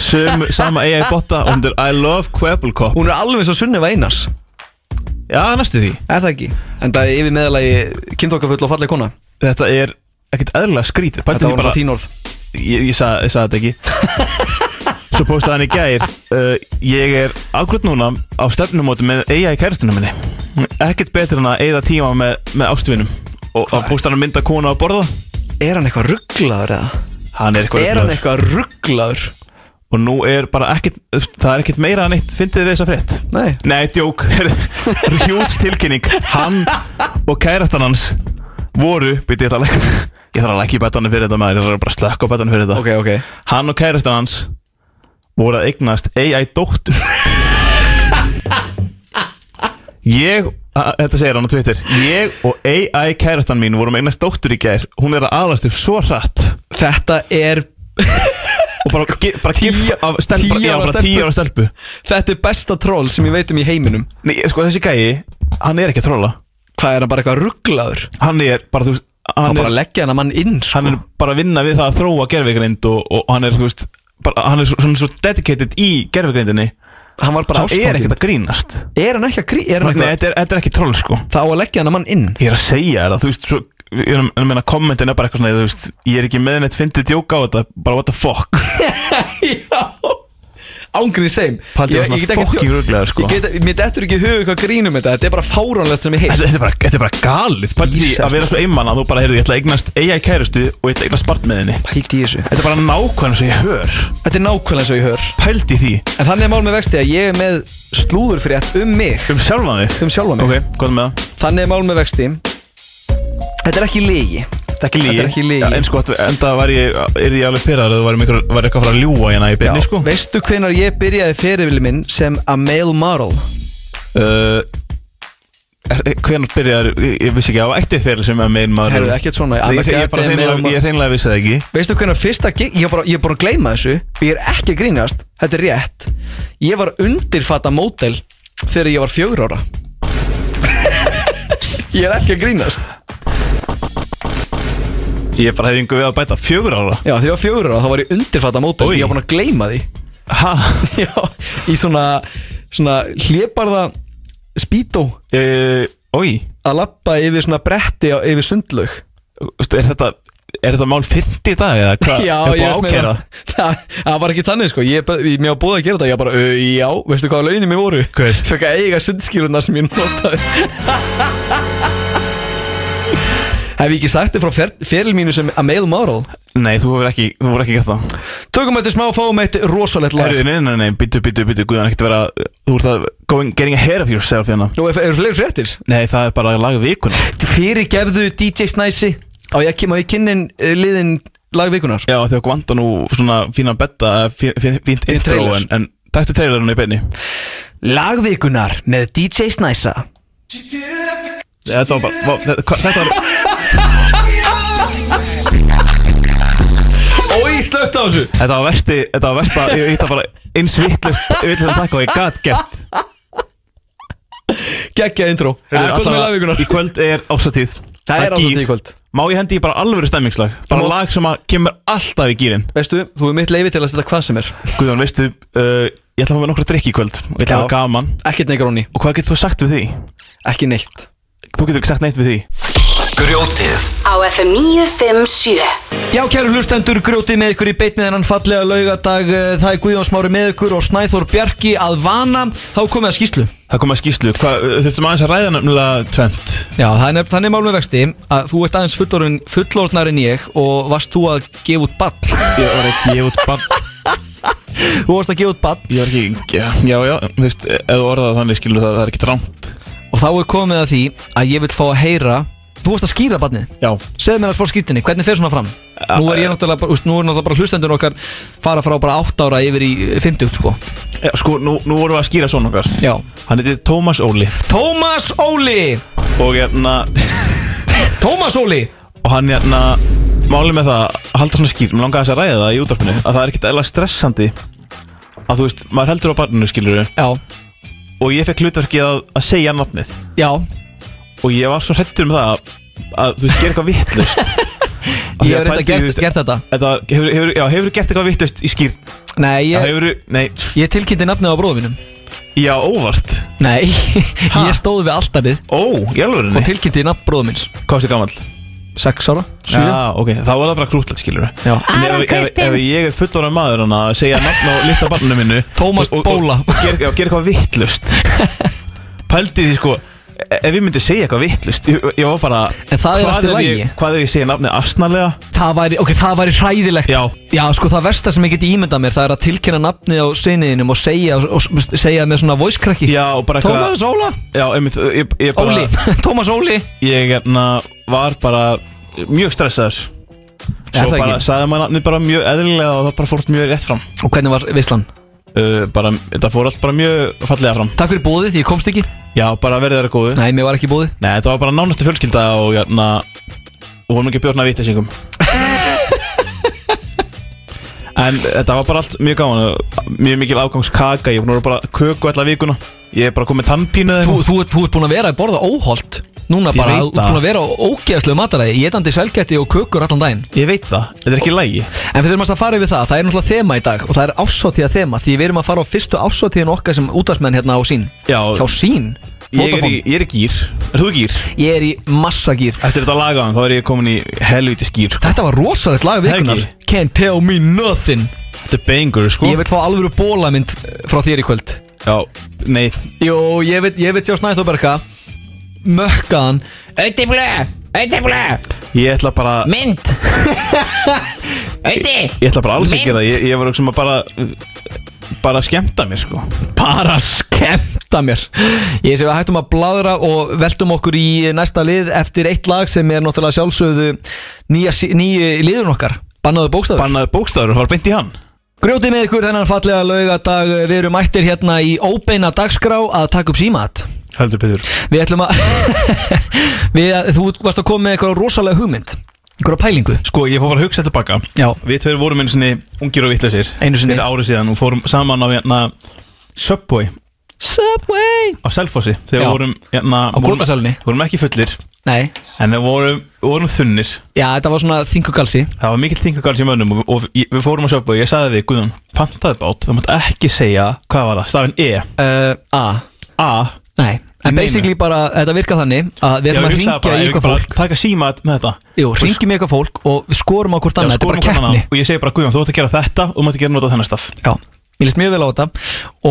B: sömu, sama AI botta og hún er I love Quebble Cop
A: Hún er alveg svo sunnið veinas
B: Já, næstu því
A: Er það ekki? En það er yfir meðalagi kynþokkafull og falleg kona
B: Þetta er ekkert eðlilega skrítið Pældu
A: Þetta
B: því
A: var
B: bara-
A: náttúrulega þín orð
B: Ég, ég, sa, ég sagði þetta ekki Svo postaði hann í gær uh, Ég er ákvöld núna á stefnumóti með eiga í kærastunum minni Ekkert betur en að eigða tíma með, með ástvinum Og að posta hann að mynda konu að borða
A: Er hann eitthvað rugglaður eða?
B: Hann er eitthvað
A: Er
B: ruglaður.
A: hann eitthvað rugglaður?
B: Og nú er bara ekkert Það er ekkert meira en eitt Fyndið þið þessa frétt
A: Nei
B: Nei, djók Hjúts tilkynning Hann og kærastan hans Voru Býtti ég þarf að lækka Ég þarf að lækka í betanum fyrir þetta maður Ég þarf bara að slökka á betanum fyrir þetta
A: Ok, ok
B: Hann og kærastan hans voru að eignast AI dóttur Ég, a- þetta segir hann á Twitter Ég og AI kærastan mín vorum að eignast dóttur í gær Hún er að aðlast upp svo hratt
A: Þetta er
B: Og bara, ge- bara gif
A: Tíu-
B: af stelp,
A: tíu
B: bara, já,
A: ára
B: bara tíu
A: stelpu.
B: ára stelpu
A: Þetta er besta troll sem ég veit um í heiminum
B: Nei, sko þessi gæi, hann er ekki að trolla
A: Hvað er hann bara eitthvað rugglaður?
B: Hann er bara, þú veist
A: Hann
B: Hann,
A: bara
B: er,
A: leggja hann að mann inn sko.
B: hann er bara að vinna við það að þróa gerfigreind og, og hann er, þú veist bara, Hann er svo, svona svo dedicated í gerfigreindinni
A: Hann var bara
B: Hann er
A: ástfanginn.
B: ekkert að grínast
A: Er hann ekki að grí... Er
B: Nei,
A: hann eitthvað
B: þetta er, þetta er ekki troll, sko
A: Það á að leggja hann að mann inn
B: Ég er að segja þér það, þú veist, svo, ég er að ég meina kommentin er bara eitthvað svona, þú veist, ég er ekki með neitt fyndið djók á þetta, bara what the fuck.
A: Já Ángrið seim
B: Paldi var svona fokking ruglaður, sko.
A: Ég get, mér dettur ekki í hug hvað grínum þetta Þetta er bara fáránlegt sem ég heilt
B: Þetta, þetta, er bara, þetta er bara galið, bara því
A: Jesus.
B: að vera svo einmann að þú bara, heyrðu, ég ætla að eignast eiga í kærustu og ég ætla að eignast barn með henni.
A: Pældi í þessu
B: Þetta er bara nákvæmlega sem ég hör,
A: Þetta er nákvæmlega svo ég hör
B: pældi því,
A: En þannig er mál með vexti að ég er með slúðurfrétt um mig
B: um sjálfan þig.
A: Um sjálfa mig
B: Ok, hvað er með það?
A: Þannig er mál með vexti Þetta er ekki legi
B: Þetta er ekki lígi.
A: Þetta er ekki lygi.
B: Já, en sko, enda var ég, er ég alveg pyrraður að þú væri mikil, væri eitthvað að fara að ljúa hérna í byrni, sko.
A: Veistu hvenar ég byrjaði ferivili minn sem a male model
B: Uh, Hvernig byrjar, ég, ég vissi ekki að það var eitt fyrir sem er með maður
A: Herðu, ekkert svona,
B: Ég,
A: I'm a
B: ég, ég, bara
A: goddamn male
B: hreinlega- ég
A: model.
B: hreinlega vissi það ekki
A: Veistu hvernig fyrsta gig, ég er bara, ég er bara að gleyma þessu og ég er ekki að grínast, þetta er rétt Ég var undirfata mótel þegar ég var fjögur ára Ég er ekki að grínast
B: Ég bara hef yngur við að bæta fjögur ára
A: Já, þegar ég var fjögur ára þá var ég undirfata mótel
B: Oj.
A: Ég var búin að gleyma því
B: Hæ?
A: Já, í svona, svona hlébarða spító
B: Eh, Ói,
A: að lappa yfir svona bretti á, yfir sundlaug
B: er þetta, er þetta mál fyrnt í dag eða hvað?
A: Já,
B: er
A: ég
B: búið að
A: meina-
B: ákæra?
A: það, það var ekki þannig sko Ég, bað- ég- mér var búið að gera þetta Ég bara, uh, já, veistu hvaða launin mér voru?
B: Hver?
A: Fekk að eiga sundskýruna sem ég notaði Hef ég ekki sagt þér frá fer, feril mínu sem að male model?
B: Nei, þú hefur ekki, þú hefur ekki gert það
A: Tökum þetta smá og fáum eitt rosalegt lag
B: Herðu, nei, nei, nei, býtu, býtu, býtu, guðan ekkert vera Þú ert að going, getting ahead of yourself hérna
A: Nú, ef- eru fleiri fréttir?
B: Nei, það er bara lag vikuna
A: Fyrirgefðu DJ Snæsi Á ég kem á ég kynnin uh, liðin lagvikunar
B: Já, þau vanda nú svona fínan betta, fí- fí- fínt
A: Í
B: intro
A: trailer.
B: En, en taktu trailerinu í beinni
A: Lagvikunar með DJ Snæsa
B: Þetta var bara, vá, þetta, hva- þetta var
A: Ói, slögt á þessu
B: Þetta var versti, þetta var versta, ég hitta bara eins vittlust, vittlust takk og ég gat gert
A: Gekkja intro
B: Heyrðu,
A: Hvað með
B: allavega,
A: Eh, lagvikunar?
B: Í kvöld er ásatíð
A: Það er ásatíð í kvöld.
B: Má ég hendi í bara alvöru stemmingslag Bara lag sem að kemur alltaf í gýrin
A: Veistu, þú er mitt leifi til að setja hvað sem er
B: Guðjón, veistu, uh, ég ætla að fá með nokkra drikki í kvöld Og ég ætla að
A: Já.
B: hafa gaman
A: Ekkert negroni,
B: Og hvað getur þú sagt við því?
A: ekki neitt
B: Þú getur ekki sagt neitt við því
C: Grjótið
D: á FM 957
A: Já, kæru hlustendur, grjótið með ykkur í beinni þennan fallega laugadag eh, Það er Guðjón Smári með ykkur og Snæþór Bjarki að vana Þá komið að skýslu
B: Það kom að skýslu, hvað, þurftum aðeins að ræða nefnilega tvent
A: Já, það er, nefn- þannig er mál með vexti að þú ert aðeins fullorðin, fullorðnar en ég og varst þú að gefa út bann
B: Ég var ekki ég út bann
A: Þú varst að gefa út bann
B: Ég var ekki, já, já, já þú veist, e- ef þú orðaði það þannig skilur það, það er ekki drámt
A: og þá er komið að því að ég vil fá að heyra Þú varst að skýra bannið
B: Já,
A: Segðu mér að fór skýrtinni, hvernig fer svona fram? Nú er ég náttúrulega, bara- úst, nú er náttúrulega bara hlustendur okkar fara frá bara 8 ára yfir í 50 sko
B: já sko, nú, nú vorum við að skýra svona okkar
A: Já
B: Hann heitir Tómas Óli
A: Tómas Óli
B: Og hérna,
A: Tómas Óli
B: og hann hérna Málið með það, að halda svona skýr Mér langaði þess að ræða það í útvarpinu Að það er ekkit eðla stressandi Að þú veist, maður heldur á barninu skilur
A: Já,
B: Og ég fekk hlutverkið að, að segja nafnið
A: já
B: Og ég var svo hrettur um það að, að þú veist, gera eitthvað vittlust
A: Ég hef reynda gert, gert þetta
B: Þetta, hefur, hefur, já, hefur gert eitthvað vittlust í skýr
A: Nei,
B: yeah.
A: ég,
B: hefur, Nei,
A: ég tilkynnti nafnið á bróðum mínum
B: já, óvart
A: Nei, ég stóð við alltarið
B: Ó, í alvörinni
A: og tilkynnti nafn bróðum míns
B: Hvað varstu gamall?
A: 6 ára, 7
B: Já, ok, þá var það bara krútlegt, skilur við
A: Já.
B: Ef, ef, ef ég er fullorðan maður hann að segja nafn á litla barninu minnu
A: Tómas
B: og- og-
A: Bóla.
B: og Ger já, gera eitthvað vittlust Pældi því sko e- Ef ég myndi segja eitthvað vittlust ég, ég var bara
A: En það er
B: hvað
A: allt í
B: ef ég-
A: lagi.
B: Hvað er ég segja nafnið asnalega?
A: Það væri, ok, það væri hræðilegt
B: Já.
A: sko, það versta sem ég geti ímyndað mér Það er að tilkynna nafnið á seiniðinum og segja, og, og segja með svona voice cracki
B: Já, og bara
A: Tómas Óla
B: Já, einmitt, ég, ég bara
A: Óli, Tómas Óli
B: Ég hérna var bara mjög stressaður
A: Er
B: Svo
A: það
B: bara
A: ekki?
B: sagði maður nafnið bara mjög eðlilega og það bara fórt mjög rétt fram
A: Og hvernig var Vislan?
B: uh, bara, Þetta fór allt bara mjög fallega fram
A: Takk fyrir bóðið, ég komst ekki
B: Já, bara verðið þeirra góðu
A: Nei, mér var ekki bóðið
B: Nei, þetta var bara nánastu fjölskylda og hérna og hún ekki bjórna vittisingum En þetta var bara allt mjög gaman mjög mikil afgangskaka, ég voru bara köku allar vikuna, ég er bara komið tannpínu eða
A: Þú,
B: eitthvað.
A: þú, ert- þú ert búin að vera að borða óholt Núna
B: Ég
A: bara,
B: veit
A: þú ert
B: það.
A: búin að vera á ógeðslegu mataræði Étandi selgæti og kökur allan daginn
B: Ég veit það, þetta er ekki lægi
A: En við þurfum alltaf að fara yfir það, það er náttúrulega þema í dag og það er ásáttíða þema því við erum að fara á fyrstu ásáttíðin okkar sem útvarsmenn hérna á sín
B: Já,
A: Hjá sín,
B: ég er,
A: Vodafone,
B: í, ég er í gýr, er þú í gýr?
A: ég er í massagýr
B: Eftir þetta lagaðan þá er ég komin í helviti skýr sko.
A: Þetta var rosalegt lag vikunar
B: Helgi.
A: Can't tell me nothing
B: Þetta er bengur sko
A: Ég vil fá alvöru bólamynd eh, frá þér í kvöld
B: Já, nei,
A: Jó, ég vil, ég vil sjá Snæþóberga Mökkaðan
F: Ötti blö, ötti blö,
B: ég ætla bara
F: mynd Ötti
B: Ég ætla bara alls ekki
F: Mynd.
B: það, ég, ég var ekki sem að bara bara að skemmta mér sko
A: bara skemmta mér Ég sé við hættum að bladra og veltum okkur í næsta lið eftir eitt lag sem er náttúrulega sjálfsögðu nýja, nýju liðun okkar Bannaðu bókstafur
B: Bannaði bókstafur og fara beint í hann
A: Grjótið með ykkur þennan fallega laugadag Við erum mættir hérna í óbeina dagskrá að taka upp símat
B: Heldur betur
A: Við ætlum að við, Þú varst að koma með eitthvað rosalega hugmynd Einhverja pælingu
B: Sko, ég fór bara að hugsa tilbaka
A: Já,
B: Við tveir vorum einu sinni ungir og vittlausir
A: Einu sinni.
B: Fyrir ári síðan og fórum saman á hérna Subway
A: Subway
B: á Selfossi Þegar
A: Já.
B: við vorum hérna
A: Á Gotasalni.
B: vorum, vorum ekki fullir
A: Nei,
B: En við vorum, vorum þunnir
A: já þetta var svona þingugalsi
B: Það var mikill þingagals í mönnum og, og ég- við fórum á Subway Ég sagði við, Guðun, pantaði bát Það mátt ekki segja, hvað var það? Stafin E
A: uh, A,
B: A
A: nei En
B: Nei, nei.
A: basically bara, þetta virka þannig að við ætlum að
B: hugsaði
A: ringja
B: bara,
A: í
B: ef
A: eitthvað
B: bara
A: fólk
B: Taka síma með þetta sko,
A: Jú, ringjum í eitthvað fólk og við skorum á hvort
B: Já,
A: annað, þetta er
B: skorum
A: bara
B: hvort annað.
A: keppni
B: Og ég segi bara, Guðjón, þú ætti að gera þetta og þú mátti gera nota þennan staf
A: Já, ég list mjög vel á þetta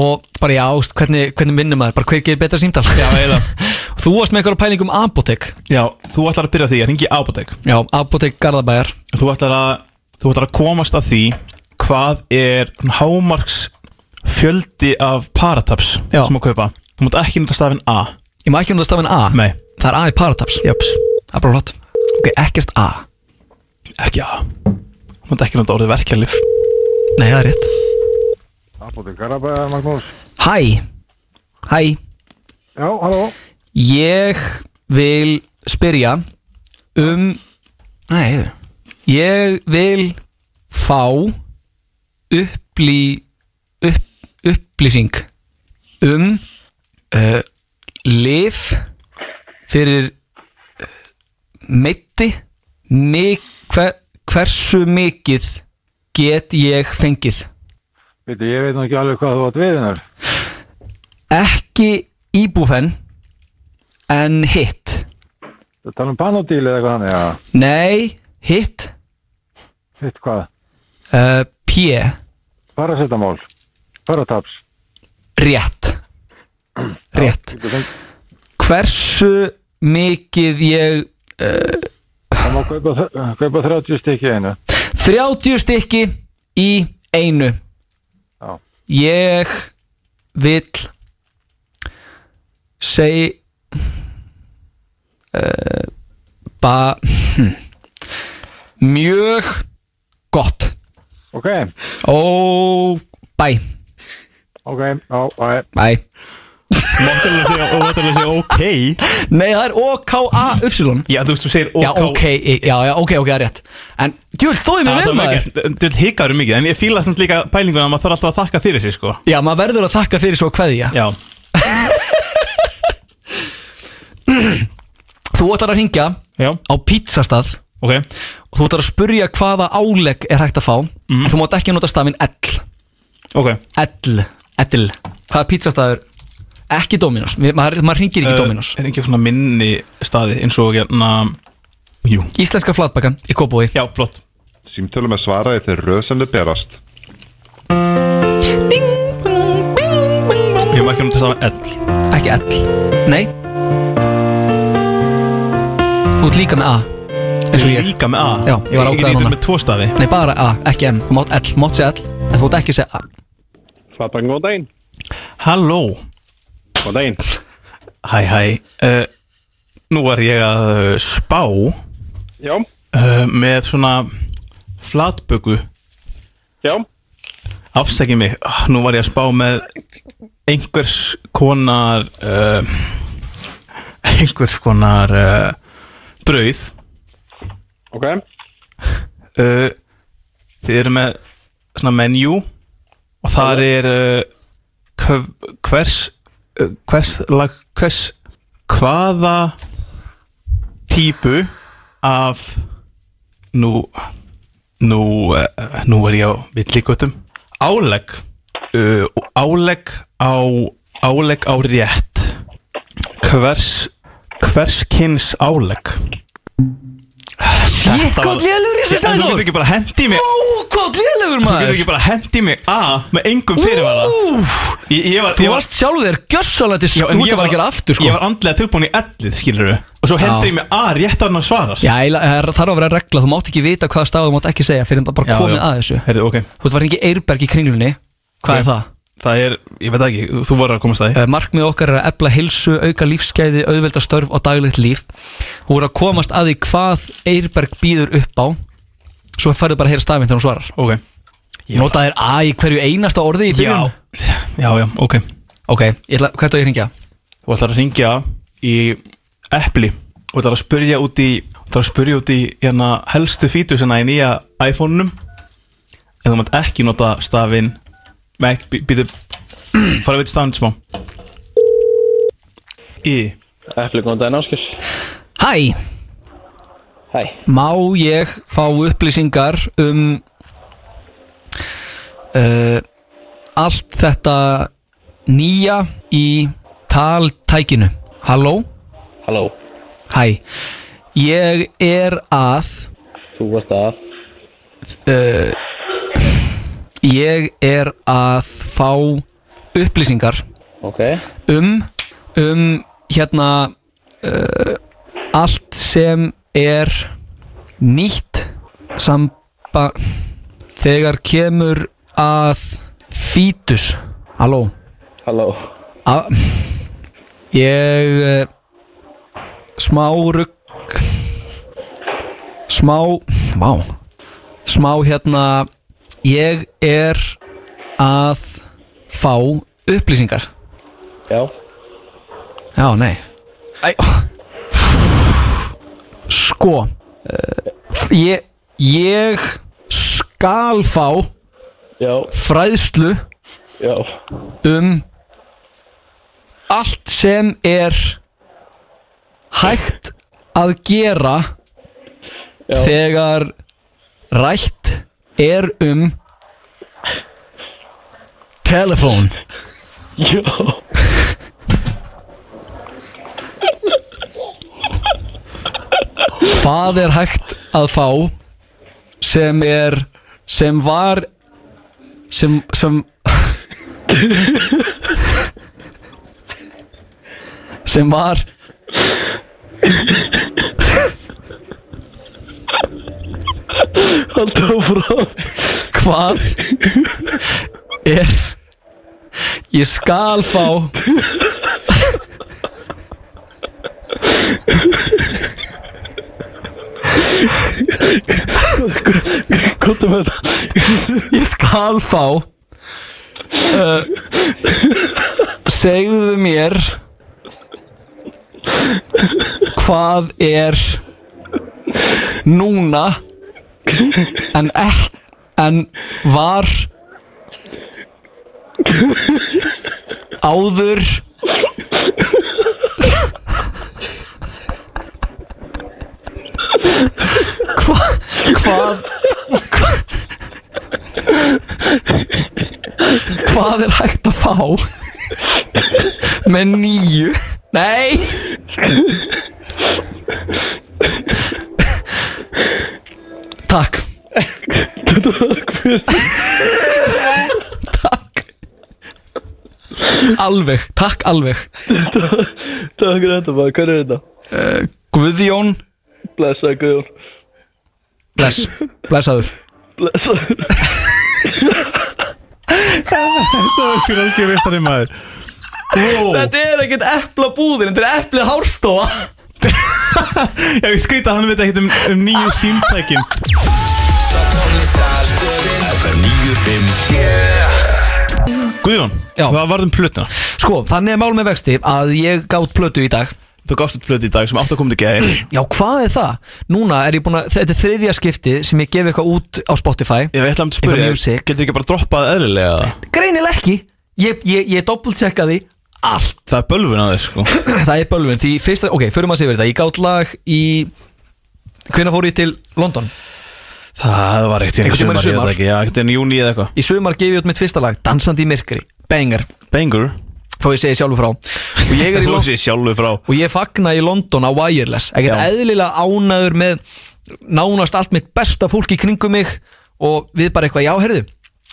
A: og bara já, veist, hvernig, hvernig minnum maður, bara hver gerir betra símtal Já,
B: eiginlega.
A: Þú varst með einhverja pæling um Apotek
B: Já, þú ætlar að byrja á því að ringi Apotek
A: Já, Apotek Garðabæjar
B: þú ætlar að þú ætlar að komast að því hvað er svona hámarks fjöldi af parataps
A: Já.
B: sem að kaupa þú mátt ekki nota stafinn A
A: Ég má ekki nota stafinn A
B: nei,
A: Það er A í Parataps
B: jöps,
A: Það er bara hlott Ok, ekkert A
B: ekki A þú mátt ekki nota orðið verkjarlif
A: Nei, það er rétt
G: Apotek Garabæðar, Magnús.
A: Hæ Hæ
G: Já, halló.
A: Ég vil spyrja um Nei, heyrðu. ég vil fá upplý upp, upplýsing um uh, lif fyrir uh, meiti Mik, hver, Hversu mikið get ég fengið?
G: Veitu, ég veit nú ekki alveg hvað þú átt við hennar.
A: Ekki íbúfenn En hitt
G: Það tala um panodíl eða eitthvað hann, já.
A: Nei, hitt
G: Hitt hvað?
A: uh, P
G: Paracetamol. Parataps.
A: Rétt Rétt Hversu mikið ég uh,
G: Það má kaupa, þ- kaupa 30 stykki í einu.
A: 30 stykki í einu
G: Já.
A: Ég vill seg uh, ba hm. mjög gott
G: Ok,
A: Ó, bæ,
G: ok, já, já,
A: bæ
B: Máttulega segja, og máttulega segja ok
A: Nei, það er O-K-A-Y
B: Já, þú veist, þú segir ok
A: Já, ok, í- já, já, ok, ok, það er rétt En, djúl,
B: Já,
A: stóði mig vel
B: það var
A: maður
B: ekki, þú veist, hikarum mikið En ég fíla samt líka pælinguna að maður þarf alltaf að þakka fyrir sig, sko
A: Já, maður verður að þakka fyrir svo kveðja
B: Já,
A: Þú ætlar að hringja
B: já,
A: á pizzastað
B: ok
A: og þú ætlar að spurja hvaða álegg er hægt að fá
B: Mhm.
A: en þú mátt ekki nota stafinn ell
B: Ok,
A: ell, ell hvaða pizzastaður, ekki Dominos Við- maður, maður hringir ekki
B: Uh,
A: Dominos
B: Er ekki svona minni staði eins og hérna Jú
A: Íslenska flatbakan í Kópói
B: Já, flott
H: Símtölum er svarað í þeirri röð sem þau berast.
B: Ég má ekki nota saman ell
A: ekki ell, nei þú ert líka með A eins og ég,
B: Líka með A
A: Já, ég var ákveðinn
B: Ég
A: þarna.
B: lítur með tvo staði
A: nei bara A, ekki M þú mátt ell, mátt segja ell en þú mátt ekki segja A
H: Svarað góð daginn.
B: Halló
H: Góð daginn.
B: Hæ, hæ uh, Nú var ég að uh, spá uh,
H: Já,
B: Með svona flatböku
H: já,
B: Afsækið mig Ah, Nú var ég að spá með einhvers konar uh, Einhvers konar uh, Brauð
H: ok.
B: uh, Þið eru með svona menu og þar er uh, hv- hvers uh, hvers, lag, hvers hvaða típu af nú nú, uh, nú er ég á villikotum álegg uh, álegg á álegg á rétt hvers hvers kynns álegg
A: ég,
B: Þetta var-
A: hvað lélugur í þessu
B: En
A: stæði
B: þú getur ekki bara hendi mig
A: Ó, hvað
B: Þú
A: lélugur
B: getur
A: maður
B: ekki bara hendi mig A með engum fyrirvara
A: Úf,
B: ég, ég var,
A: þú
B: ég var,
A: varst sjálf þér gjössalandi
B: já, en
A: skúta
B: ég
A: var að gera aftur sko
B: Ég var andlega tilbúin í ellið, skilur Og svo hendi ég mig A rétt að hann að svara
A: Já, eiginlega, það er- þarf að vera regla, þú mátt ekki vita hvaða stað þú mátt ekki segja fyrir það bara komið að þessu
B: Heyrðu, ok
A: Þú ert var ekki Eirberg í kringlunni, hvað
B: Ok.
A: er það?
B: Það er, ég veit það ekki, þú voru að komast það
A: Eh, Markmið okkar er að ebla hilsu, auka lífsgæði, auðvelda störf og daglegt líf Þú er að komast að því hvað Eirberg býður upp á Svo færðu bara að heyra stafinn þegar hún svarar
B: Ok
A: Ég nota þér að í hverju einasta orði í
B: Já,
A: byrjun
B: já, já, ok
A: Ok, ég ætla, hvert á ég að hringja?
B: Þú ætlar að ringja í Eppli Og ætlar að spyrja út í Þú ætlar að spyrja út í hérna helstu fítusina í nýja iPhone-num En þú mátt ekki nota stafinn Nei, bý- býtu Fara við stafinn smá Í
I: Epli, góðan daginn áskil
A: Hæ,
I: Hæ
A: má ég fá upplýsingar um uh, allt þetta nýja í taltækinu Halló,
I: Halló
A: hæ Ég er að
I: Þú varst að
A: uh, Ég er að fá upplýsingar
I: Ok
A: um um hérna uh, allt sem er nýtt samba þegar kemur að fítus halló
I: Halló
A: A ég uh, smá rugg smá vá smá hérna ég er að fá upplýsingar
I: Já
A: Já, nei Æ. Sko uh, ég, ég skal fá
I: Já
A: fræðslu
I: Já
A: um allt sem er hægt að gera Þegar rætt er um Telefón
I: Jó
A: Hvað er hægt að fá sem er sem var sem sem sem var
I: Haldur áfram
A: hvað er ég skal fá
I: Kottu með þetta
A: ég skal fá uh, segðu mér hvað er núna en ekki en var áður Hva, hvað hvað er hægt að fá með nýju nei takk takk alveg, takk alveg
I: Takk fyrir þetta maður, hvað er þetta?
A: Guðjón
I: Blessaði Guðjón
A: bless, blessaður
I: Blessaði
B: Hver algjör veistari maður Wow.
A: þetta er ekkert epla búðin þetta er eplið hárstofa
B: Já, ég skrýta að hann veit ekkert um, um nýju símtækin
C: FM 957
B: Guðjón,
A: Já.
B: hvað varð um plötuna?
A: sko, þannig er mál með vexti að ég gátt plötu í dag
B: Þú gafst út plötu í dag sem átt að koma til gæði
A: Já, hvað er það? Núna er ég búin að, þetta er þriðja skiptið sem ég gef eitthvað út á Spotify
B: Ég ætla að spyrja,
A: Eitthvað
B: þig,
A: music.
B: getur ekki bara droppað eðlilega
A: Greinileg ekki Ég, ég, ég doppeltsekkaði allt
B: Það er bölvun að þér sko
A: Það er bölvun, því fyrsta, ok, förum að sé verið þetta Ég gátt lag í Hvenær fór ég til London?
B: Það var ekkert
A: Einhvern tímann í
B: ég veit
A: sumar.
B: ekki, já, ekkert í júni eða eitthvað
A: Í sumar gef ég út mitt fyrsta lag, Dansandi í myrkri Banger,
B: Bengur,
A: þá ég segi sjálfur frá Og ég er í
B: þú
A: London
B: sé sjálfu frá
A: og ég fagna í London á Wireless ekkert
B: Já.
A: eðlilega ánæður með nánast allt mitt besta fólk í kringum mig og við bara eitthvað já, herðu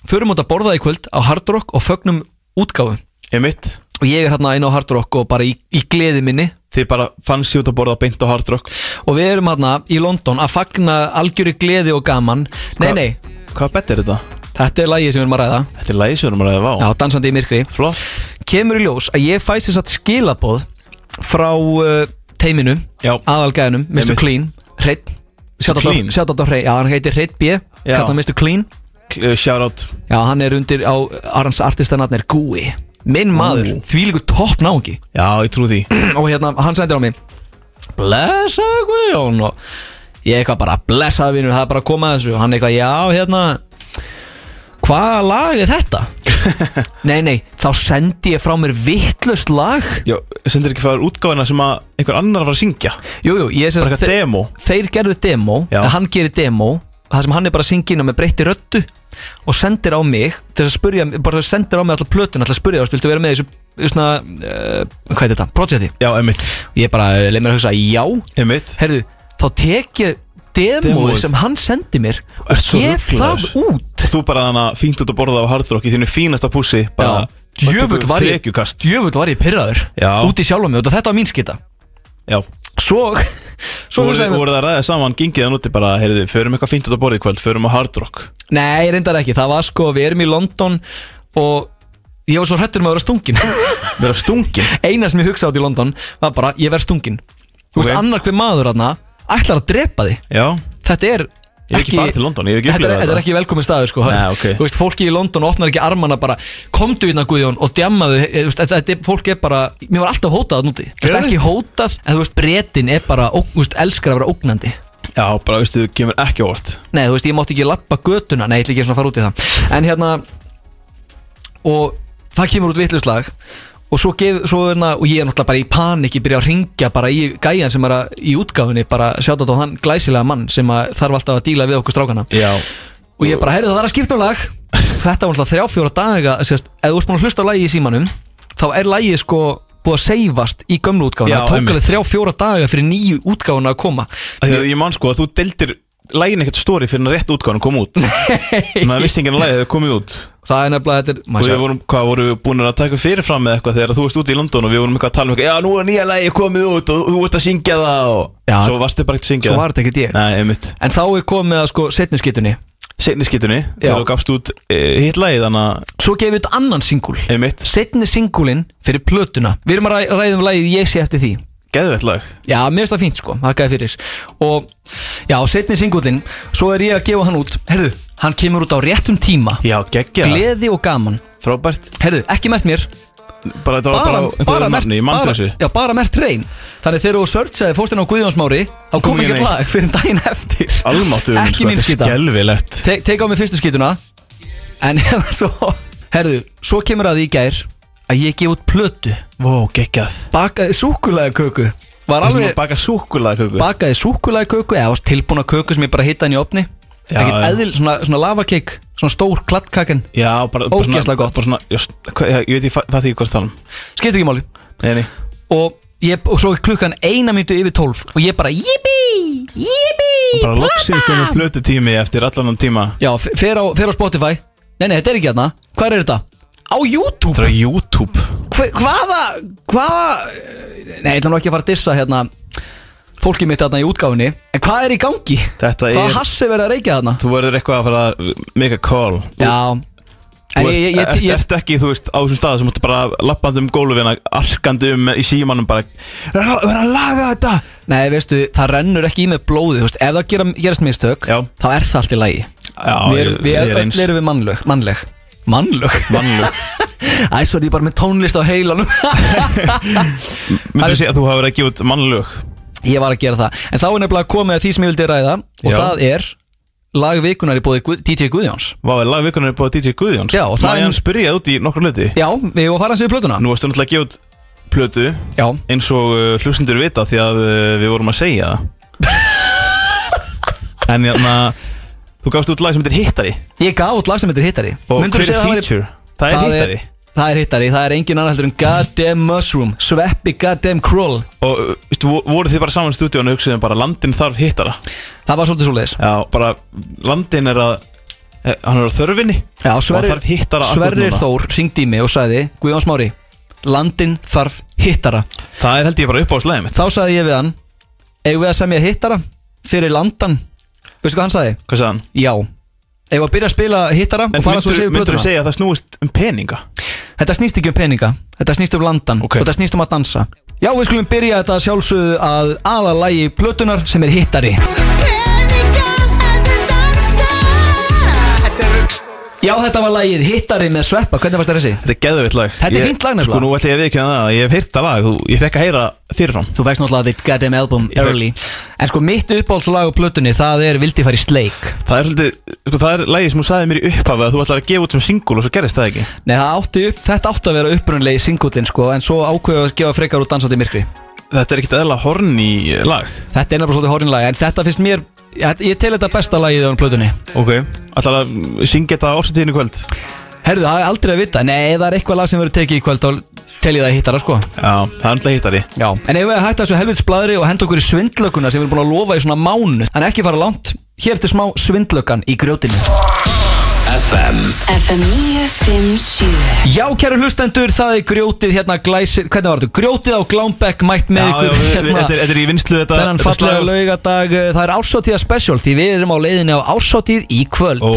A: förum út að borða í kvöld á Hard Rock og fögnum útgáfu
B: Ég mitt,
A: og ég er hérna inn á Hard Rock og bara í, í gleði minni
B: þið bara fannst ég út að borða beint á Hard Rock
A: og við erum hérna í London að fagna algjöru gleði og gaman nei,
B: Hva-
A: nei,
B: Hvað bett er þetta?
A: þetta er lagið sem við erum að ræða
B: Þetta er læsjónum að ræða
A: já,
B: vá
A: dansandi í myrkri
B: Flott
A: kemur í ljós að ég fæst þess að skilaboð frá uh, teiminu
B: Já.
A: aðalgæðinum, Mr.
B: Einmitt.
A: Clean Hreitt,
B: Clean?
A: sjátt á Hreitt já, hann heitir Hreitt B,
B: Já.
A: kallt hann Mr. Clean
B: K- uh, Shoutout
A: já, hann er undir á Arans artistanarnir Gúi, minn maður þvílíkur topp náungi
B: Já, ég trú því
A: og hérna, hann sendir á mig blessa Guðjón og ég eitthvað bara, blessa vinur, það er bara að koma að þessu og hann eitthvað, já, hérna hvaða lag er þetta? nei, nei, þá sendi ég frá mér vittlust lag
B: Já, sendir ekki fyrir útgáfina sem að einhver annar var að syngja
A: Jú, jú, ég sem
B: Bara
A: sagt,
B: eitthvað
A: þeir,
B: demo
A: þeir gerðu demo
B: Já.
A: en hann gerir demo það sem hann er bara að syngja inn á með breytti röttu og sendir á mig til þess að spyrja, bara sendir á mig alltaf plötun alltaf að spyrja, þú veist, viltu vera með í þessu svona, uh, hvað er þetta, projekti
B: Já, emitt
A: og ég bara, leið mér að hugsa, já,
B: Emitt
A: herðu þá tek ég demóið
B: Demóið.
A: sem hann sendi mér
B: Ert
A: og
B: svo
A: gef
B: ruglaður.
A: það út
B: Þú bara þannig að fínt út að borða á Hard Rock í þínu fínasta pússi bara
A: djöfull var ég
B: Frekjukast
A: djöfull var ég pyrraður
B: Já.
A: út í sjálfa mig og þetta var mín skita
B: Já
A: svo,
B: Svo
A: svo
B: voru,
A: hugsaði ég mér-
B: voru það að ræða saman, gengið hann úti bara, heyrðu, förum eitthvað fínt út að borðið kvöld, förum á Hard Rock
A: Nei, reyndar ekki, það var sko, við erum í London og ég var svo hrættur með að vera stungin
B: Verða stungin
A: Eina sem ég hugsa át í London var bara, ég verð stungin Þú veist,
B: Ok.
A: annar hver maður þarna ætlar að drepa þig
B: Já,
A: Þetta er
B: Ég hef ekki farið til London, ég hef ekki
A: Þetta er,
B: upplifað
A: þetta er
B: þetta.
A: ekki velkomin staður sko
B: Nei, ok.
A: Þú veist, fólki í London opnar ekki armana bara Komdu hérna Guðjón og djammaðu Þú veist, þetta, þetta er, fólk er bara Mér var alltaf hótað þarna úti Þetta er
B: Gerðu?
A: ekki hótað En þú veist, bretin er bara, ógn- þú veist, elskar að vera ógnandi
B: já, bara veistu, þú kemur ekki á orð
A: Nei, þú veist, ég mátti ekki lappa götuna Nei, ég ætla ekki svona að fara út í það En hérna Og það kemur út vittluslag og svo, gef, svo er það, og ég er náttúrulega bara í panik ég byrja að ringja bara í gæjan sem er að, í útgáfinni bara sjátt á þann glæsilega mann sem að þarf alltaf að díla við okkur strákana
B: Já
A: og ég bara, heyrðu það er að skipta um lag þetta var náttúrulega þrjá fjóra daga sérst, ef þú ert búin að hlusta á lagið í símanum þá er lagið sko búið að seifast í gömlu útgáfuna,
B: Já,
A: það tók
B: einmitt.
A: alveg þrjá fjóra daga fyrir nýju útgáfuna að koma
B: Af því að Ég man sko að þú deildir lægin ekkert stóri fyrir en rétt útgáðan kom út Maður vissi enginn að lægið hefði komið út
A: það er nefnilega, þetta er
B: Og
A: maður
B: við
A: sér-
B: vorum, hvað, vorum við búin að taka fyrirfram með eitthvað þegar þú varst úti í London og við vorum eitthvað að tala um eitthvað Já, nú er nýja lægi komið út og þú ert að syngja það og
A: Já,
B: Svo varstu bara ekkert að syngja
A: svo var þetta ekkert ég
B: Nei, einmitt
A: en þá er komið að sko setni skytunni
B: Seinni skýtunni,
A: Já.
B: þegar þú gafst út e, hitt lægi þannig að
A: svo gefið þetta annan singul
B: Einmitt,
A: setni singulinn fyrir plötuna við erum að ræ- ræða um lagið ég sé eftir því
B: geðvett lag
A: já, mér finnst það fínt sko, þakkaði fyrir og já, setni singulinn svo er ég að gefa hann út, herðu, hann kemur út á réttum tíma
B: Já, geggja,
A: gleði og gaman
B: frábært
A: herðu, ekki mert mér
B: Bara þetta var bara,
A: bara,
B: einhverju
A: bara,
B: nafni,
A: merkt-
B: ég mann
A: bara,
B: þessu
A: já, bara mert reyn þannig þegar þú searchaði fórstin á Guðjónsmári þá kom
B: kom ekki
A: ekki
B: neitt. sko.
A: lag fyrir daginn eftir
B: Almáttu
A: ekki mín skita
B: Skelvilegt
A: Te Teik á mig fyrstu skítuna En hérna svo Herðu, svo kemur að því í gær Að ég gef út plötu
B: Vó, geggjað
A: Bakaði súkulega köku Var
B: Það sem að
A: alveg
B: baka súkulega köku
A: Bakaði súkulega köku Eða varst tilbúna köku sem ég bara hitta hann í opni
B: Já,
A: Ekkert
B: já.
A: eðil, svona, svona lavakeik Svona stór kladdkakan
B: Já, bara bara
A: Ógeðslega
B: svona-
A: gott.
B: bara svona, just, hva, Ég veit, ég fa- fatt ekki hvað það er
A: Skiptir ekki máli
B: um. Nei, nei
A: Og, ég, og svo er klukkan eina myndu yfir tólf Og ég bara jippi, jippi
B: Bara loksins komið plötu tími eftir allan þann tíma
A: Já, f- fer á, fer á Spotify Nei, nei, þetta er ekki hérna Hvað er þetta? Á YouTube
B: Það er á YouTube
A: Hva- hvaða, hvaða Nei, ég ætla nú ekki að fara að dissa hérna Fólkið mitt hérna í útgáfinni En hvað er í gangi?
B: Þetta
A: Hvaða
B: er-
A: hassi verið að reykja þarna?
B: Þú verður eitthvað að fara að make a call
A: Já En
B: Þú
A: ég, ég, ég,
B: ert,
A: ég,
B: ert ekki, þú veist, á þessum stað sem múttu bara lappandi um gólfina, arkandi um í símanum bara Verður að- verður að laga þetta
A: Nei, veistu, það rennur ekki í með blóði veist, Ef það gera, gerast mistök
B: Já.
A: Þá er það allt í lagi
B: Já,
A: Við, erum-
B: ég-
A: við
B: ég er
A: er
B: eins.
A: öll erum við mannlög Mannleg Mannlög
B: Mannlög.
A: Æ, svo er ég bara með tónlist á heilanum
B: Myndu segja að þú hafa verið að gefa út mannlög
A: Ég var að gera það En þá er nefnilega komið að því sem ég vildi ræða
B: Já.
A: Og það er lagvikunar í bóði Guð, DJ Guðjóns
B: Vá, er lagvikunar upp á DJ Guðjóns
A: Já, og það er-
B: Mæjan spyrjaði út í nokkru hluti
A: Já, við erum að fara að segja plötuna
B: Nú varstu náttúrulega að gefa út plötu
A: Já,
B: eins og uh, hlustendur vita því að uh, við vorum að segja það En hérna Þú gafst út lag sem heitir Hittari
A: Ég gaf út lag sem heitir Hittari
B: Og
A: Myndirðu
B: hver er
A: segja að það væri-
B: feature? Það er Hittari
A: Það er Hittari, það er engin annar heldur en Goddamn Mushroom Sveppi Goddamn Krull
B: Og uh, veistu, vo- voruð þið bara saman í stúdíónu og hugsaðum bara landin þarf hittara
A: Það var svolítið svoleiðis
B: Já, bara landin er að eh, Hann er á þörfinni
A: Já, Sverrir,
B: þarf hittara akkur
A: Sverrir
B: núna.
A: Þór ringdi í mig og sagði Guðjón Smári, landin þarf hittara
B: Það er held ég bara upp á slæðið mitt
A: Þá sagði ég við hann Eigum við að semja hittara fyrir landan Veistu hvað hann sagði?
B: Hvað sagði hann?
A: Já Eigum við að byrja að spila hittara og fara svo að segja
B: myndur
A: plötuna
B: þú segja að það snúist um peninga?
A: Þetta snýst ekki um peninga, þetta snýst um landan
B: Ok.
A: og þetta snýst um að dansa Já, við skulum byrja þetta að sjálfsögðu að aðalægi plötunar sem er hittari Já, þetta var lægið hittari með sveppa, hvernig varst þér þessi?
B: Þetta er geðvitt lag
A: Þetta er
B: Ég-
A: fínt lag nefnilega.
B: Sko nú ætla ég að viðkjöna það að Ég hef heyrt það lag og Ég fekk að heyra fyrirfram
A: Þú veist náttúrulega þitt goddamn album
B: Ég fekk-
A: early En sko mitt uppáhaldslag á plötunni það er Vildi fari sleik
B: Það er svolítið Sko það er lagið sem þú sagði mér í upphafi að þú ætlar að gefa út sem single og svo gerist það ekki
A: Nei, það átti upp, þetta átti að vera upprunalegi singullin sko En svo ákveðu að gefa frekar út dansandi myrkri
B: Þetta er ekkit eðla horn í lag
A: Þetta er nefnilega svolítið horrinlag En þetta finnst mér, ég, ég tel þetta besta lagið á plötunni
B: Ok Ætlar að mm, syngja þetta ársatíðinu kvöld
A: Herðu, það er aldrei að vita Nei, það er eitthvað lag sem verður tekið í kvöld og tel ég það hittara sko
B: Já Það er alltaf hittari
A: Já En ef við að hætta þessu helvits blaðri og henda okkur í svindlökunna sem við erum búin að lofa í svona mánu En ekki fara langt Hér til smá svindlökan í grjótinu
C: FM
D: FM 957
A: Já, kæru hlustendur, það er grjótið hérna glæsir Hvernig var þetta? Grjótið á Glámbekk mætt með ykkur
B: við- við-
A: hérna
B: þetta er- þetta er í vinnslu þetta
A: Þennan
B: þetta
A: fallega
B: slag.
A: laugadag uh, Það er ársáttíða special Því við erum á leiðinni á ársáttíð í kvöld
B: Ó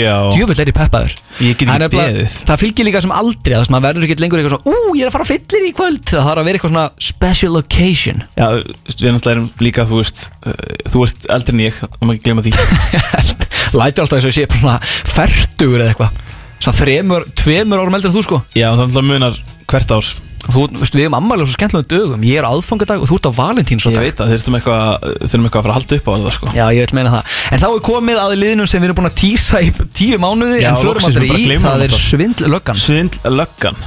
B: já
A: Djöfull er ég peppaður
B: Ég get ekki
A: Það er nefnilega-
B: beðið.
A: Það fylgir líka sem aldrei Það sem maður verður ekki lengur eitthvað svona Ú, ég er að fara á fyllir í kvöld Það þarf að vera eitthvað svona special occasion
B: Já við náttúrulega erum líka þú veist uh, Þú ert eldri en ég Það má ekki gleyma því
A: Lætir alltaf eins og ég sé bara svona Fertugur eða eitthvað Svona þremur, tveimur árum eldur en þú sko
B: Já það er alltaf munar hvert ár
A: Þú, veistu, við erum ammælega svo skemmtilega dögum Ég er á aðfangadag og þú ert á
B: Ég
A: valentínsdag
B: veit að þurfum eitthvað Þurfum eitthvað að fara að halda upp á það sko
A: Já, ég vil meina það En þá er komið að liðnum sem við erum búin að tísa í tíu mánuði
B: Já,
A: En förum
B: loksins,
A: aldrei
B: við bara
A: í
B: gleymum
A: Það
B: honum
A: er
B: alltaf.
A: svindlöggan
B: Svindl löggan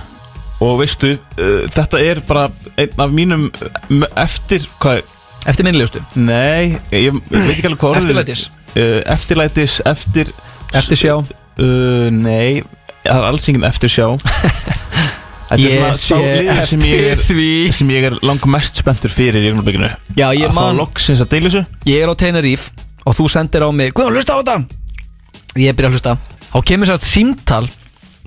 B: Og veistu, uh, þetta er bara einn af mínum uh, eftir, hvað,
A: Eftir minnlegustu
B: nei, ég, ég veit ekki alveg hvað orðið-
A: Eftirlætis.
B: Uh, eftirlætis, eftir
A: Eftirsjá.
B: uh, Nei, það er alls enginn eftirsjá Þetta
A: Ég
B: er svona
A: sé
B: sá liður sem ég
A: eftir
B: er
A: því
B: sem ég er langmest spenntur fyrir í Rúnarbygginu
A: Já, ég
B: að fá
A: man,
B: loksins að deila þessu
A: ég er á Teneríf og þú sendir á mig Guðan, hlusta á þetta Ég byrja að hlusta Þá kemur sér símtal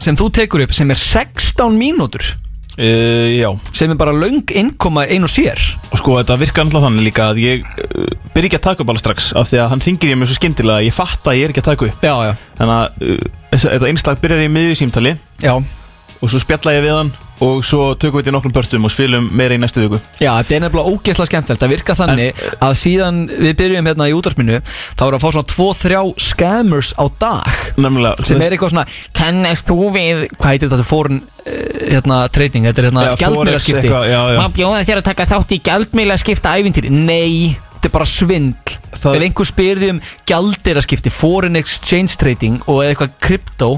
A: sem þú tekur upp sem er 16 mínútur
B: uh,
A: Eh,
B: Já,
A: sem er bara löng innkoma ein og sér
B: og sko þetta virkar alltaf þannig líka að ég uh, byrja ekki að taka upp alveg strax af því að hann ringir ég mig svo skyndilega að ég fatt að ég er ekki að taka upp
A: Já, já,
B: þannig að uh, þessa- þetta einslag byrjar í miðju símtali
A: já,
B: og svo spjalla ég við hann og svo tökum við þetta í nokkrum börtum og spilum meira í næstu viku
A: já, þetta er nefnilega ógeðslega skemmtilegt Það virka þannig að síðan við byrjum hérna í útarpinu þá er að fá svona 2-3 scammers á dag
B: Nefnilega,
A: sem er eitthvað svona
F: Kannast þú við
A: hvað heitir þetta foreign eh, hérna, trading, þetta er hérna
B: Já, forex
A: gjaldmiðlaskipti
B: eitthvað, já, já.
A: má bjóða þér að taka þátt í gjaldmiðlaskipta ævintýri, nei, þetta er bara svindl
B: Það-
A: ef einhver spyrir því um gjaldmiðlaskipti, foreign exchange trading og eða eitthvað krypto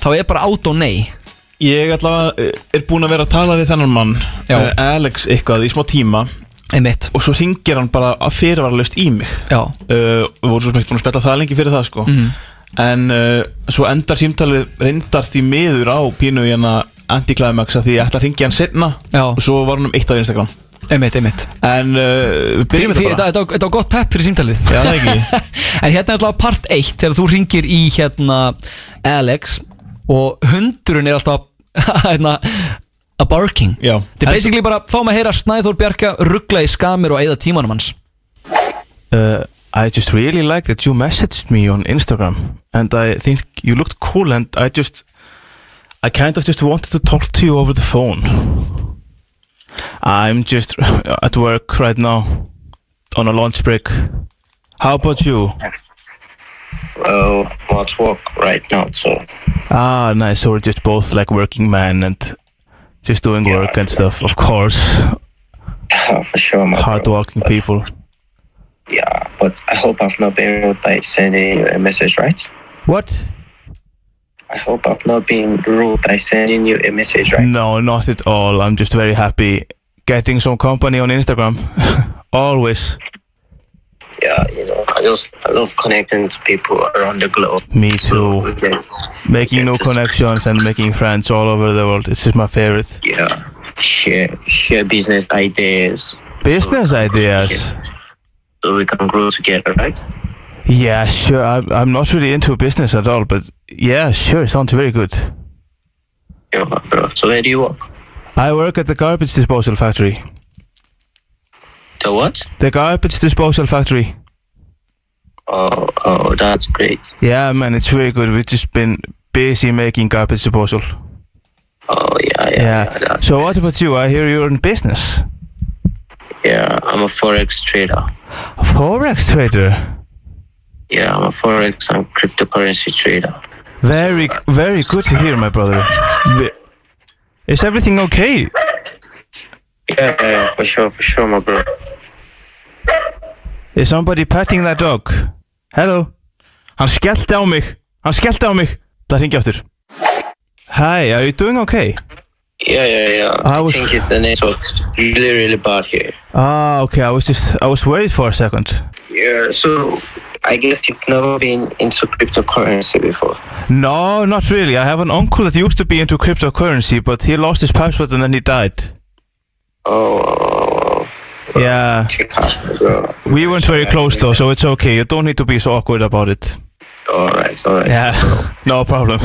A: þá er bara át og nei
B: ég allavega uh, er búin að vera að tala við þennan mann
A: Já.
B: uh, Alex eitthvað í smá tíma
A: einmitt,
B: og svo ringir hann bara að fyrirvaralaust í mig
A: já,
B: uh, við vorum svo smegt búin að spjalla það lengi fyrir það sko
A: Mhm.
B: en uh, svo endar símtalið reyndar því miður á pínu í hana anti-climax að því ég ætla að ringi hann setna
A: Já.
B: og svo var hann um eitt af Instagram
A: einmitt, einmitt
B: en uh, við byrjum
A: Fyrir,
B: þetta
A: fyrir,
B: bara
A: þetta, þetta, var- þetta var gott pepp fyrir símtalið
B: Já, það ekki.
A: En hérna er alltaf part 1 Þegar þú ringir í hérna Alex Og hundurinn er alltaf hérna, A barking
B: Já.
A: Þetta er basically bara Fáum að heyra Snæþór Bjarka Ruggla í skamir og eigða tímanum hans
B: Uh, I just really like that you messaged me on Instagram and I think you looked cool and I just I kind of just wanted to talk to you over the phone. I'm just at work right now on a lunch break. How about you?
J: Oh, let's walk right now. So
B: Ah, nice. So we're just both like working men and just doing work and stuff. Of course,
J: uh, for sure, my
B: hard
J: bro.
B: working people.
J: Yeah, but I hope I've not been rude by sending you a message, right?
B: What?
J: I hope I've not been rude by sending you a message, right?
B: No, not at all. I'm just very happy getting some company on Instagram. Always.
J: Yeah, you know, I just I love connecting to people around the globe.
B: Me too.
J: Okay.
B: Making new
J: Just-
B: connections and making friends all over the world. It's just my favorite.
J: Yeah, share share business ideas
B: Business ideas.
J: so we can grow together, right?
B: Yeah, sure. I, I'm not really into business at all, but yeah, sure. Sounds very good.
J: Yeah, my bro. So where do you work?
B: I work at the garbage disposal factory.
J: The what?
B: The garbage disposal factory.
J: Oh, oh, that's great.
B: Yeah, man, it's very good. We've just been busy making garbage disposal.
J: Oh yeah, yeah.
B: Yeah.
J: that's-
B: So what about you? I hear you're in business.
J: yeah, I'm a forex trader.
B: Forex trader.
J: Yeah, I'm a forex and cryptocurrency trader.
B: Very, very good to hear, my brother. Ve- Is everything okay?
J: Yeah, yeah, for sure, for sure, my bro.
B: Is somebody petting that dog? Hello? Hann skellti á mig. Hann skellti á mig. Það ringi aftur. Hi, are you doing okay?
J: Yeah, yeah, yeah.
B: I
J: I,
B: was-
J: think it's the network's really, really bad here.
B: Ah, okay. I was just, I was worried for a second.
J: Yeah, so I guess you've never been into cryptocurrency before.
B: No, not really. I have an uncle that used to be into cryptocurrency, but he lost his password and then he died.
J: Oh,
B: Yeah.
J: check out, bro.
B: We weren't very close though, so it's okay. You don't need to be so awkward about it.
J: All right, all right.
B: Yeah, no problem.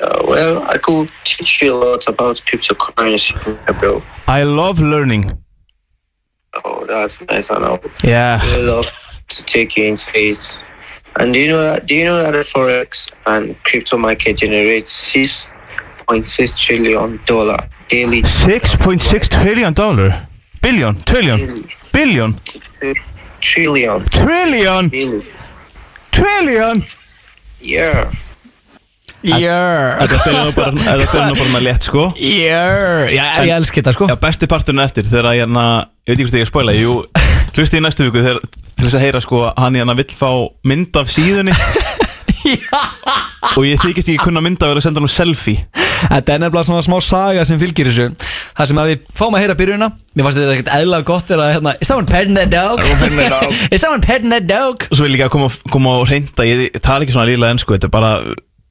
J: Uh, well, I could teach you a lot about cryptocurrency, bro.
B: I love learning.
J: Oh, that's nice. I know.
B: Yeah.
J: I love to take you into it. And do you know that? Do you know that the forex and crypto market generates six point six trillion dollar daily?
B: Six point six trillion dollar, billion, trillion, billion,
J: trillion
B: trillion,
J: daily.
B: trillion.
J: Yeah.
A: Jörr
B: Þetta fyrir nú bara, þetta fyrir nú bara með létt sko.
A: Jörr Já, ég elski þetta sko
B: Já, besti parturinn eftir þegar ég hérna, ég veit ekki hvort ég er að spoila, jú, hlusti í næstu viku þegar til þess að heyra sko, hann hérna vill fá mynd af síðunni Og ég þykist ekki kunna mynda að vera að senda hann selfie
A: Þetta er nefnilega svona smá saga sem fylgir þessu Það sem að við fáum að heyra byrjunina Mér fannst þetta ekkert eðla gott er að hérna Is someone petting that dog? Is someone petting that dog?
B: Og svo vil ég líka koma, koma og reynda Ég tala ekki svona líla enn sko Þetta er bara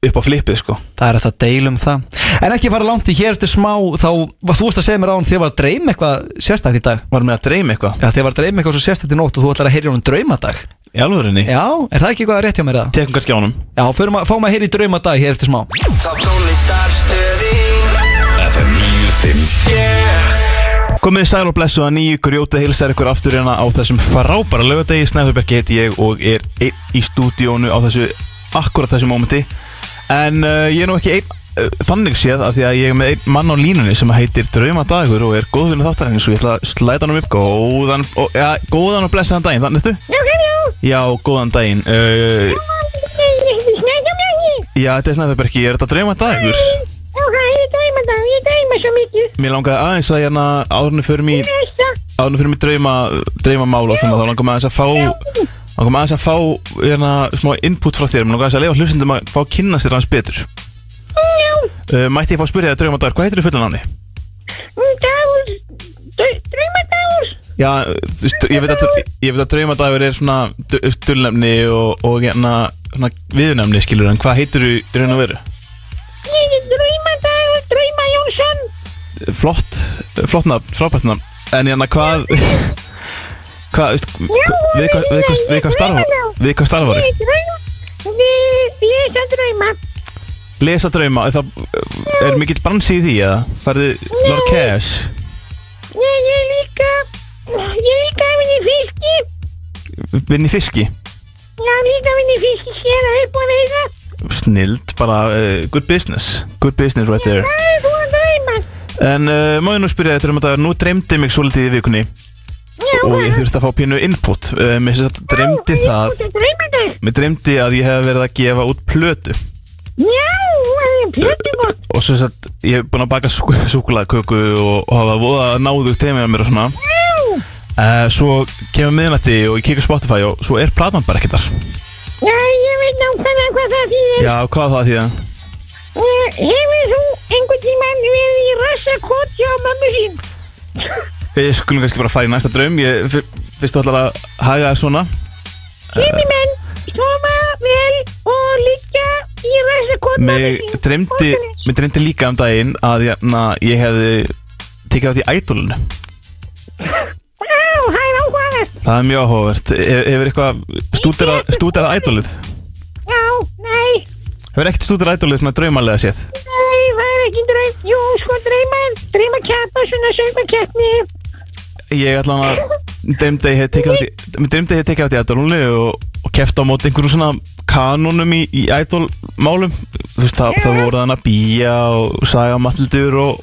B: upp á flippið sko
A: Það er þetta að deilum það En ekki fara langt í hér eftir smá Þá var þú varst að segja mér á hann þér var að dreyma eitthvað sérstakt í dag
B: Var með að dreyma eitthvað
A: Já þér var að dreyma eitthvað svo sérstakt í nótt og þú ætlar að heyra honum draumadag
B: Í alvörinni
A: Já, er það ekki eitthvað rétt hjá mér það?
B: Tekum kannski á honum
A: Já, förum að, fáum að heyra í draumadag hér eftir smá
C: Top tónlistarstöðin FM 957
B: Komið sæl og blessu að nýju grjótið hilsar ykkur aftur hérna á þessum frábæra lögadegi Snæðurbergi heiti ég og er einn í stúdíónu á þessu akkurat þessu mómenti En uh, ég er nú ekki einn uh, þannig séð af því að ég er með einn mann á línunni sem heitir Draumadagur og er góðvinni þáttarhengis og ég ætla að slæta hann um upp góðan og, ja, góðan og blessaðan daginn, þannig ertu?
K: Já, hæljó,
B: Já, góðan daginn uh,
K: ég er snæðamæði.
B: Já, þetta er Snæðurbergi, er þetta Draumadagur?
K: Já, hæ, ég dæma það, ég dæma svo mikið.
B: Mér langaði aðeins að hérna árunni fyrir mig
K: Þessa,
B: ánum fyrir mig drauma, drauma mála og svona þá langar maður aðeins að fá langar maður aðeins að fá hérna, smá input frá þér mér langar aðeins að leifa hlustundum að fá að kynna sér hans betur
K: já,
B: uh, Mætti ég fá að spyrja þér drauma dagur, hvað heitir þú fullan áni?
K: dagur, drauma dagur.
B: Já, þú veist, ég veit að, ég veit að drauma dagur er svona du- dulnefni og, og hérna, svona viðnefni skilur en hvað heitir þú í raun og veru?
K: Ég er drauma dagur, drauma Jónsson.
B: Flott, flott nafn, frábært nafn en hérna hvað hvað, veist, við hvað, við hvað, við hvað starfa við hvað starfar
K: Ég er drauma, við, ég er það drauma.
B: Lesa drauma, er, það, er mikill bransi í því eða? Færði Lord Cash?
K: Ég er líka, ég er líka að vinni fiski.
B: Vinn í fiski?
K: Já, líka að vinni fiski sér að upp og reyna.
B: Snild, bara uh, good business Good business right there
K: Það er þú að drauma.
B: En uh, má ég nú spyrja þetta um þetta Nú dreymdi mig svolítið í vikunni
K: Já,
B: Og ég þurfti að fá pínu input uh, Mér sem sagt dreymdi það
K: Drauma dag.
B: Mér dreymdi að ég hef verið að gefa út plötu
K: Já, það er plötum og...
B: Og sem sagt, ég hef búin að baka súkulaðköku Og, og hafa voða náðu teimið að mér og svona
K: Já.
B: uh, Svo kemur miðnætti og ég kikið Spotify Og svo er platan bara ekki þar
K: Já, ég veit nákvæmlega hvað það þýðir.
B: Já, hvað á það því að?
K: Eh, Hefur þú einhvern tímann verið í rassakot hjá mammu sín?
B: Við skulum kannski bara fara í næsta draum Ég, fyr- fyrst þú ætlar að haga það svona
K: Kimi menn, koma vel og liggja í rassakot mammu
B: Mig
K: sín.
B: dreymdi,
K: Ótrúlegt.
B: mig dreymdi líka um daginn að ég, na, ég hefði tekið þátt í ædolinu
K: Á, það er áhugaðast.
B: Það er mjög áhugavert He- Hefur eitthvað stúderað stúdera ædolið?
K: Já, nei,
B: Hefur ekkert stúderað ædolið svona draumalega séð?
K: nei, það er ekki draum. Jú, sko, drauma, drauma kjappa, svona sögma kjapni.
B: Ég ætla hann að dreymdi að ég hefði tekið þátt í Mér dreymdi að ég hefði tekið þátt í ædolinu og, og keft á móti einhverjum svona kanonum í, í ædolmálum Þú veist, það, það voru þannig að býja og saga matildur og,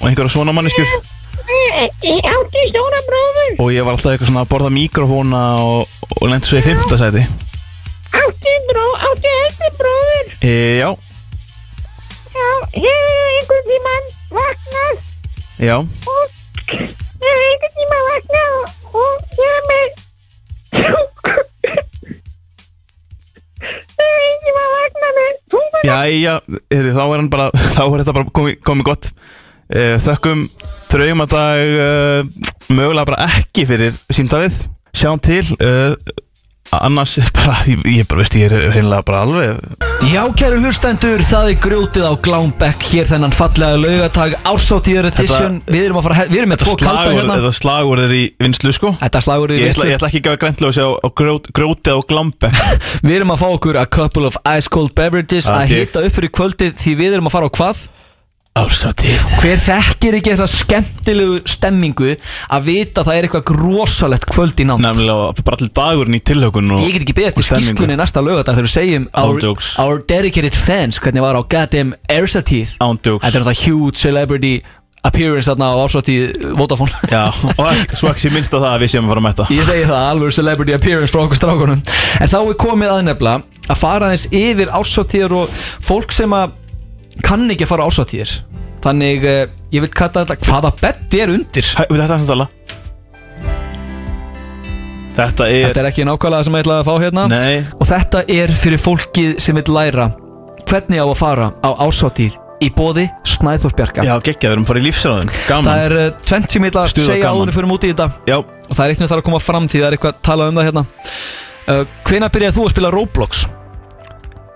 B: og einhverja svona manneskjur
K: Ég átti Eh, stóra bróður,
B: og ég var alltaf eitthvað svona að borða mikrofóna og, og lendi svo í fimmta sæti
K: átti bró, átti eldri bróður.
B: e, Já,
K: Já, hefur einhvern tímann vaknað
B: já
K: og hefur einhvern tímann vaknað og, og hefur með hefur einhvern tímann vaknað með tungun
B: Jæja, heyrðu, þá er hann bara þá er þetta bara komið komi gott e, Þökkum draumadag e, mögulega bara ekki fyrir símtalið Sjáum til e, annars bara, ég, ég bara veist ég er hreinlega bara alveg
A: Já, kæru hlustendur, það er grjótið á Glámbekk hér þennan fallega laugatag ársóttíður edition Við erum að fara, við erum með tvo kalda
B: slagorð-
A: hérna
B: Þetta slagorð er í vinslu sko
A: Þetta slagur í
B: Ég ætla,
A: viðslu
B: ég ætla ekki að gefa græntljósi á, á grót, gróti á glambe
A: Við erum að fá okkur a couple of ice cold beverages
B: Ah,
A: að
B: djöfull.
A: hita upp fyrir kvöldið því við erum að fara á hvað?
B: Ársáttíð
A: Hver þekkir ekki þessa skemmtilegu stemmingu að vita að það er eitthvað rosalegt kvöld í nátt
B: Nefnilega bara allir dagurinn í tilhökun og,
A: Ég get ekki beðið eftir
B: og stemningu.
A: skýrkunni næsta laugardag þegar við segjum
B: Án
A: our,
B: jokes.
A: our dedicated fans hvernig var á goddamn Airsatith
B: Án jokes.
A: Þetta er náttúrulega huge celebrity appearance þarna á ársóttíð Vodafone
B: Já, og ek- svo ekki sé minnst á það að við séum að fara að mæta
A: Ég segi það, alveg celebrity appearance frá okkur strákunum En þá er komið að nefnilega að fara aðeins yfir ársáttíðar og fólk sem að kann ekki að fara á ársáttíðar Þannig, eh, ég vil kalla þetta hvaða betti er undir
B: Hæ, við þetta er samtala Þetta er
A: Þetta er ekki nákvæmlega sem ég ætlaði að fá hérna
B: Nei.
A: Og þetta er fyrir fólkið sem vil læra Hvernig á að fara á ásátíð Í bóði Snæðósbjarka
B: Já, geggja, við erum bara í lífsræðin Gaman
A: Það er uh, 20 mil að
B: Stuð og
A: segja
B: gaman.
A: áður en við förum út í þetta
B: Já.
A: Og það er eitt með það að koma fram því það er eitthvað að tala um það hérna uh, Hvenær byrjaði þú að spila Roblox?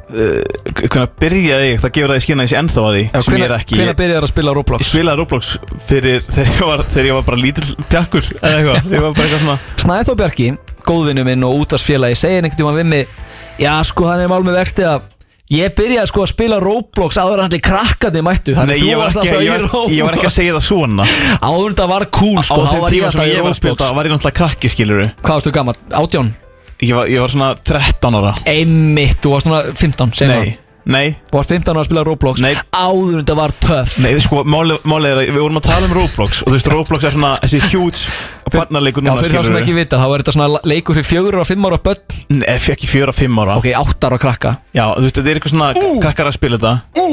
B: Hvernig byrjaði ég, það gefur það í skynna eins ég ennþá að því
A: Já,
B: sem ég er
A: Eh, hvenær-
B: ekki
A: hvenær byrjaði það að spila Roblox?
B: Ég spilaði Roblox fyrir þegar ég var, þegar ég var bara lítill pjakkur eða eitthvað Ég var bara eitthvað svona
A: Snæþór Bjarki, góðvinnu minn og útvarsfélagi segir einhvern tímann við mig Já sko, hann er mál með vexti að Ég byrjaði sko að spila Roblox áður en allir krakkandi mættu
B: Nei,
A: Þannig að
B: ég
A: þú
B: var,
A: varst
B: ekki,
A: alltaf
B: ég,
A: í
B: var,
A: Roblox
B: ég var ekki að segja það svona
A: Áður þetta var cool
B: Á
A: sko, þá
B: þeim
A: var ég
B: tíma sem
A: alltaf í
B: ég var að spila
A: Roblox
B: það var ég náttúrulega krakki skilur
A: Hvað varstu gammal? 18?
B: Ég var, ég var svona 13 ára
A: Einmitt, þú varst svona 15 seinna.
B: Nei, nei
A: Þú varst 15 ára að spila Roblox Nei. Áður þetta var töff
B: Nei, sko, málið máli er að við vorum að tala um Roblox Og þú veist, Roblox er svona þessi huge barnarleikur
A: Já,
B: núna
A: fyrir þá sem ekki vita, þá er þetta svona leikur fyrir fjögur og fimm ára börn
B: Nei, ef ekki eh, fjögur og fimm ára
A: Ok, átt ára krakka
B: Já, þú veist, þetta er eitthvað svona krakkar að spila þetta
A: Ú.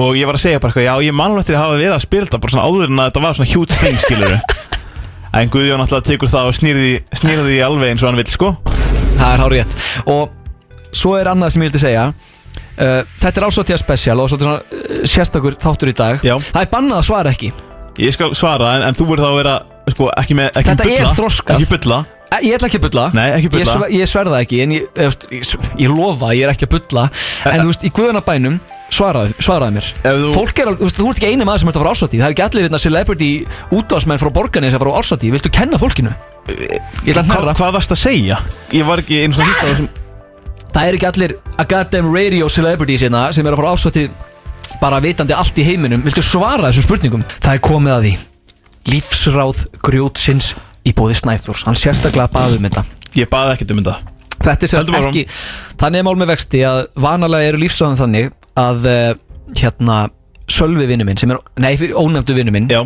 B: Og ég var að segja bara eitthvað, já, ég mann eftir að hafa verið að spila þetta Bara svona áður en að þetta var svona huge thing, skilur En Guðjón alltaf tekur það og snýrði, snýrði alveg eins og hann vil, sko
A: Það er hár rétt Og svo er annað sem ég vildi segja uh, Þetta er ásóttíða special og svolítið svona uh, sérstakur þáttur í dag Já. Það er bannað að svara ekki
B: Ég skal svara, en, en þú verður þá að vera, sko, ekki með, ekki
A: Þetta
B: bulla
A: er þroskað.
B: Ekki bulla
A: Eh, Ég ætla ekki að bulla
B: Nei, ekki
A: Ég,
B: bulla.
A: sver, ég sverða ekki en ég, ég, ég, ég lofa að ég er ekki að bulla En þú veist, í guðunabænum svaraði, svaraði mér
B: Eh, þú-
A: Fólk er, alveg- þú veist, þú ert ekki eini maður sem ert að fara ársati Það er ekki allir hérna celebrity útvarsmenn frá borgarni sem fara á ársati Viltu kenna fólkinu? Ég ætla að
B: Hva-
A: hnerra
B: Hvað varst að segja? Ég var ekki einu svona hýst á þessum
A: Það er ekki allir a goddamn radio celebrities hérna sem eru að fara ársati bara vitandi allt í heiminum Viltu svara þessum spurningum? Það er komið að því Lífsráð grjótsins í bóði Snæþórs Hann sérstaklega baði um þetta
B: Ég baði ekkert um þetta
A: Þetta er sérst
B: Höldum áfram.
A: ekki Þannig er mál með vexti að vanalega eru lífsráðan þannig að eh, hérna Sölvi vinnu minn sem er, nei, fyrir- ónefndu vinnu minn
B: Já.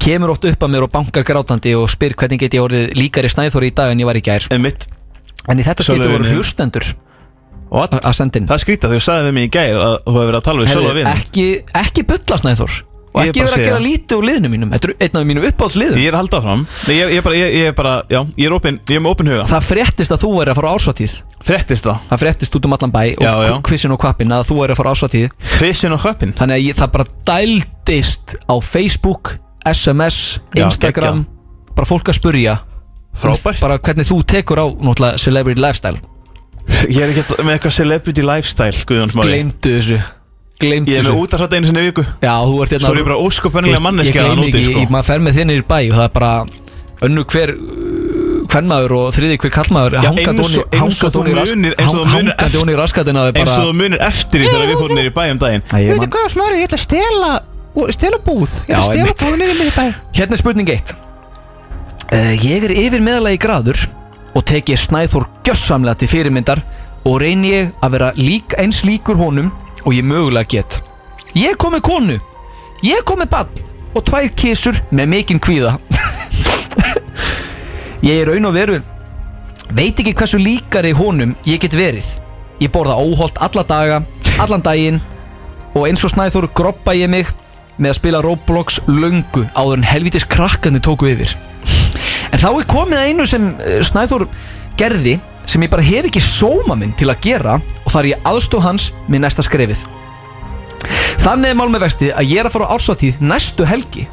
A: kemur oft upp að mér og bankar grátandi og spyr hvernig get ég orðið líkari snæðþóri í dag en ég var í gær
B: Einmitt.
A: En í þetta
B: Sölvi
A: skipti voru
B: vinur.
A: hlustendur
B: What?
A: að sendin
B: Það skrýta þegar þú sagði við mig í gær að þú hefur verið að tala við sjálfa við
A: ekki, ekki bulla snæðþór og
B: Ég er
A: ekki
B: bara að
A: vera að
B: segja.
A: gera lítið úr liðinu mínum Þetta er einn af mínum uppáhaldsliðum
B: Ég er að halda áfram Nei, ég, ég, er bara, ég, ég er bara, já, ég er, opin, ég er með opin huga
A: Það fréttist að þú væri að fara á ársvatíð
B: Fréttist það?
A: Það fréttist út um allan bæ og
B: Já, já.
A: kvissin og kvappin að þú væri að fara á ársvatíð
B: Hvissin og höppin
A: Þannig að ég, það bara dældist á Facebook, SMS,
B: Já,
A: Instagram Bara fólk að spurja
B: Frábært.
A: Bara hvernig þú tekur á náttúrulega celebrity lifestyle
B: Ég er ekki að- með eitthvað celebrity lifestyle, Guðjón Smári
A: Gleimdu þessu Gleimdu
B: Ég er
A: þessu
B: með útarsat einu sinni í viku
A: Já, þú ert hérna
B: Svo er ég bara ósköpennilega
A: Ég-
B: manneskja
A: Ég
B: að
A: gleymi
B: nóti,
A: ekki,
B: sko.
A: ég- maður fer með þinn í bæ og það er bara önnu hver uh, kvenmaður og þriði hver kallmaður
B: Já, eins og- eins og þú munir- eins og þú munir
A: hangandi honi í raskatina
B: Eins og þú munir eftir því þegar við fórum niður í bæ um daginn
A: munir
L: hvað, Smári, ég ætla að stela Stela búð
A: ætla að stela
L: búð niður mér í bæ
A: Hérna er spurning 1 uh, Ég er yfir meðalagi graður og tek ég Snæþór gjörsamlega til fyrirmyndar og reyni ég að vera lík, eins líkur honum og ég mögulega get Ég kom með konu Ég kom með bann og tvær kísur með mikinn kvíða Ég er raun og veru Veit ekki hversu líkari honum ég get verið Ég borða óholt alla daga, allan daginn Og eins og snæður groppa ég mig Með að spila Roblox löngu Áður en helvitis krakkandi tóku yfir En þá er komið að einu sem Snæður gerði Sem ég bara hef ekki sóma minn til að gera Og þar ég aðstóð hans með næsta skrefið Þannig er mál með vexti að ég er að fara á ársatíð næstu helgi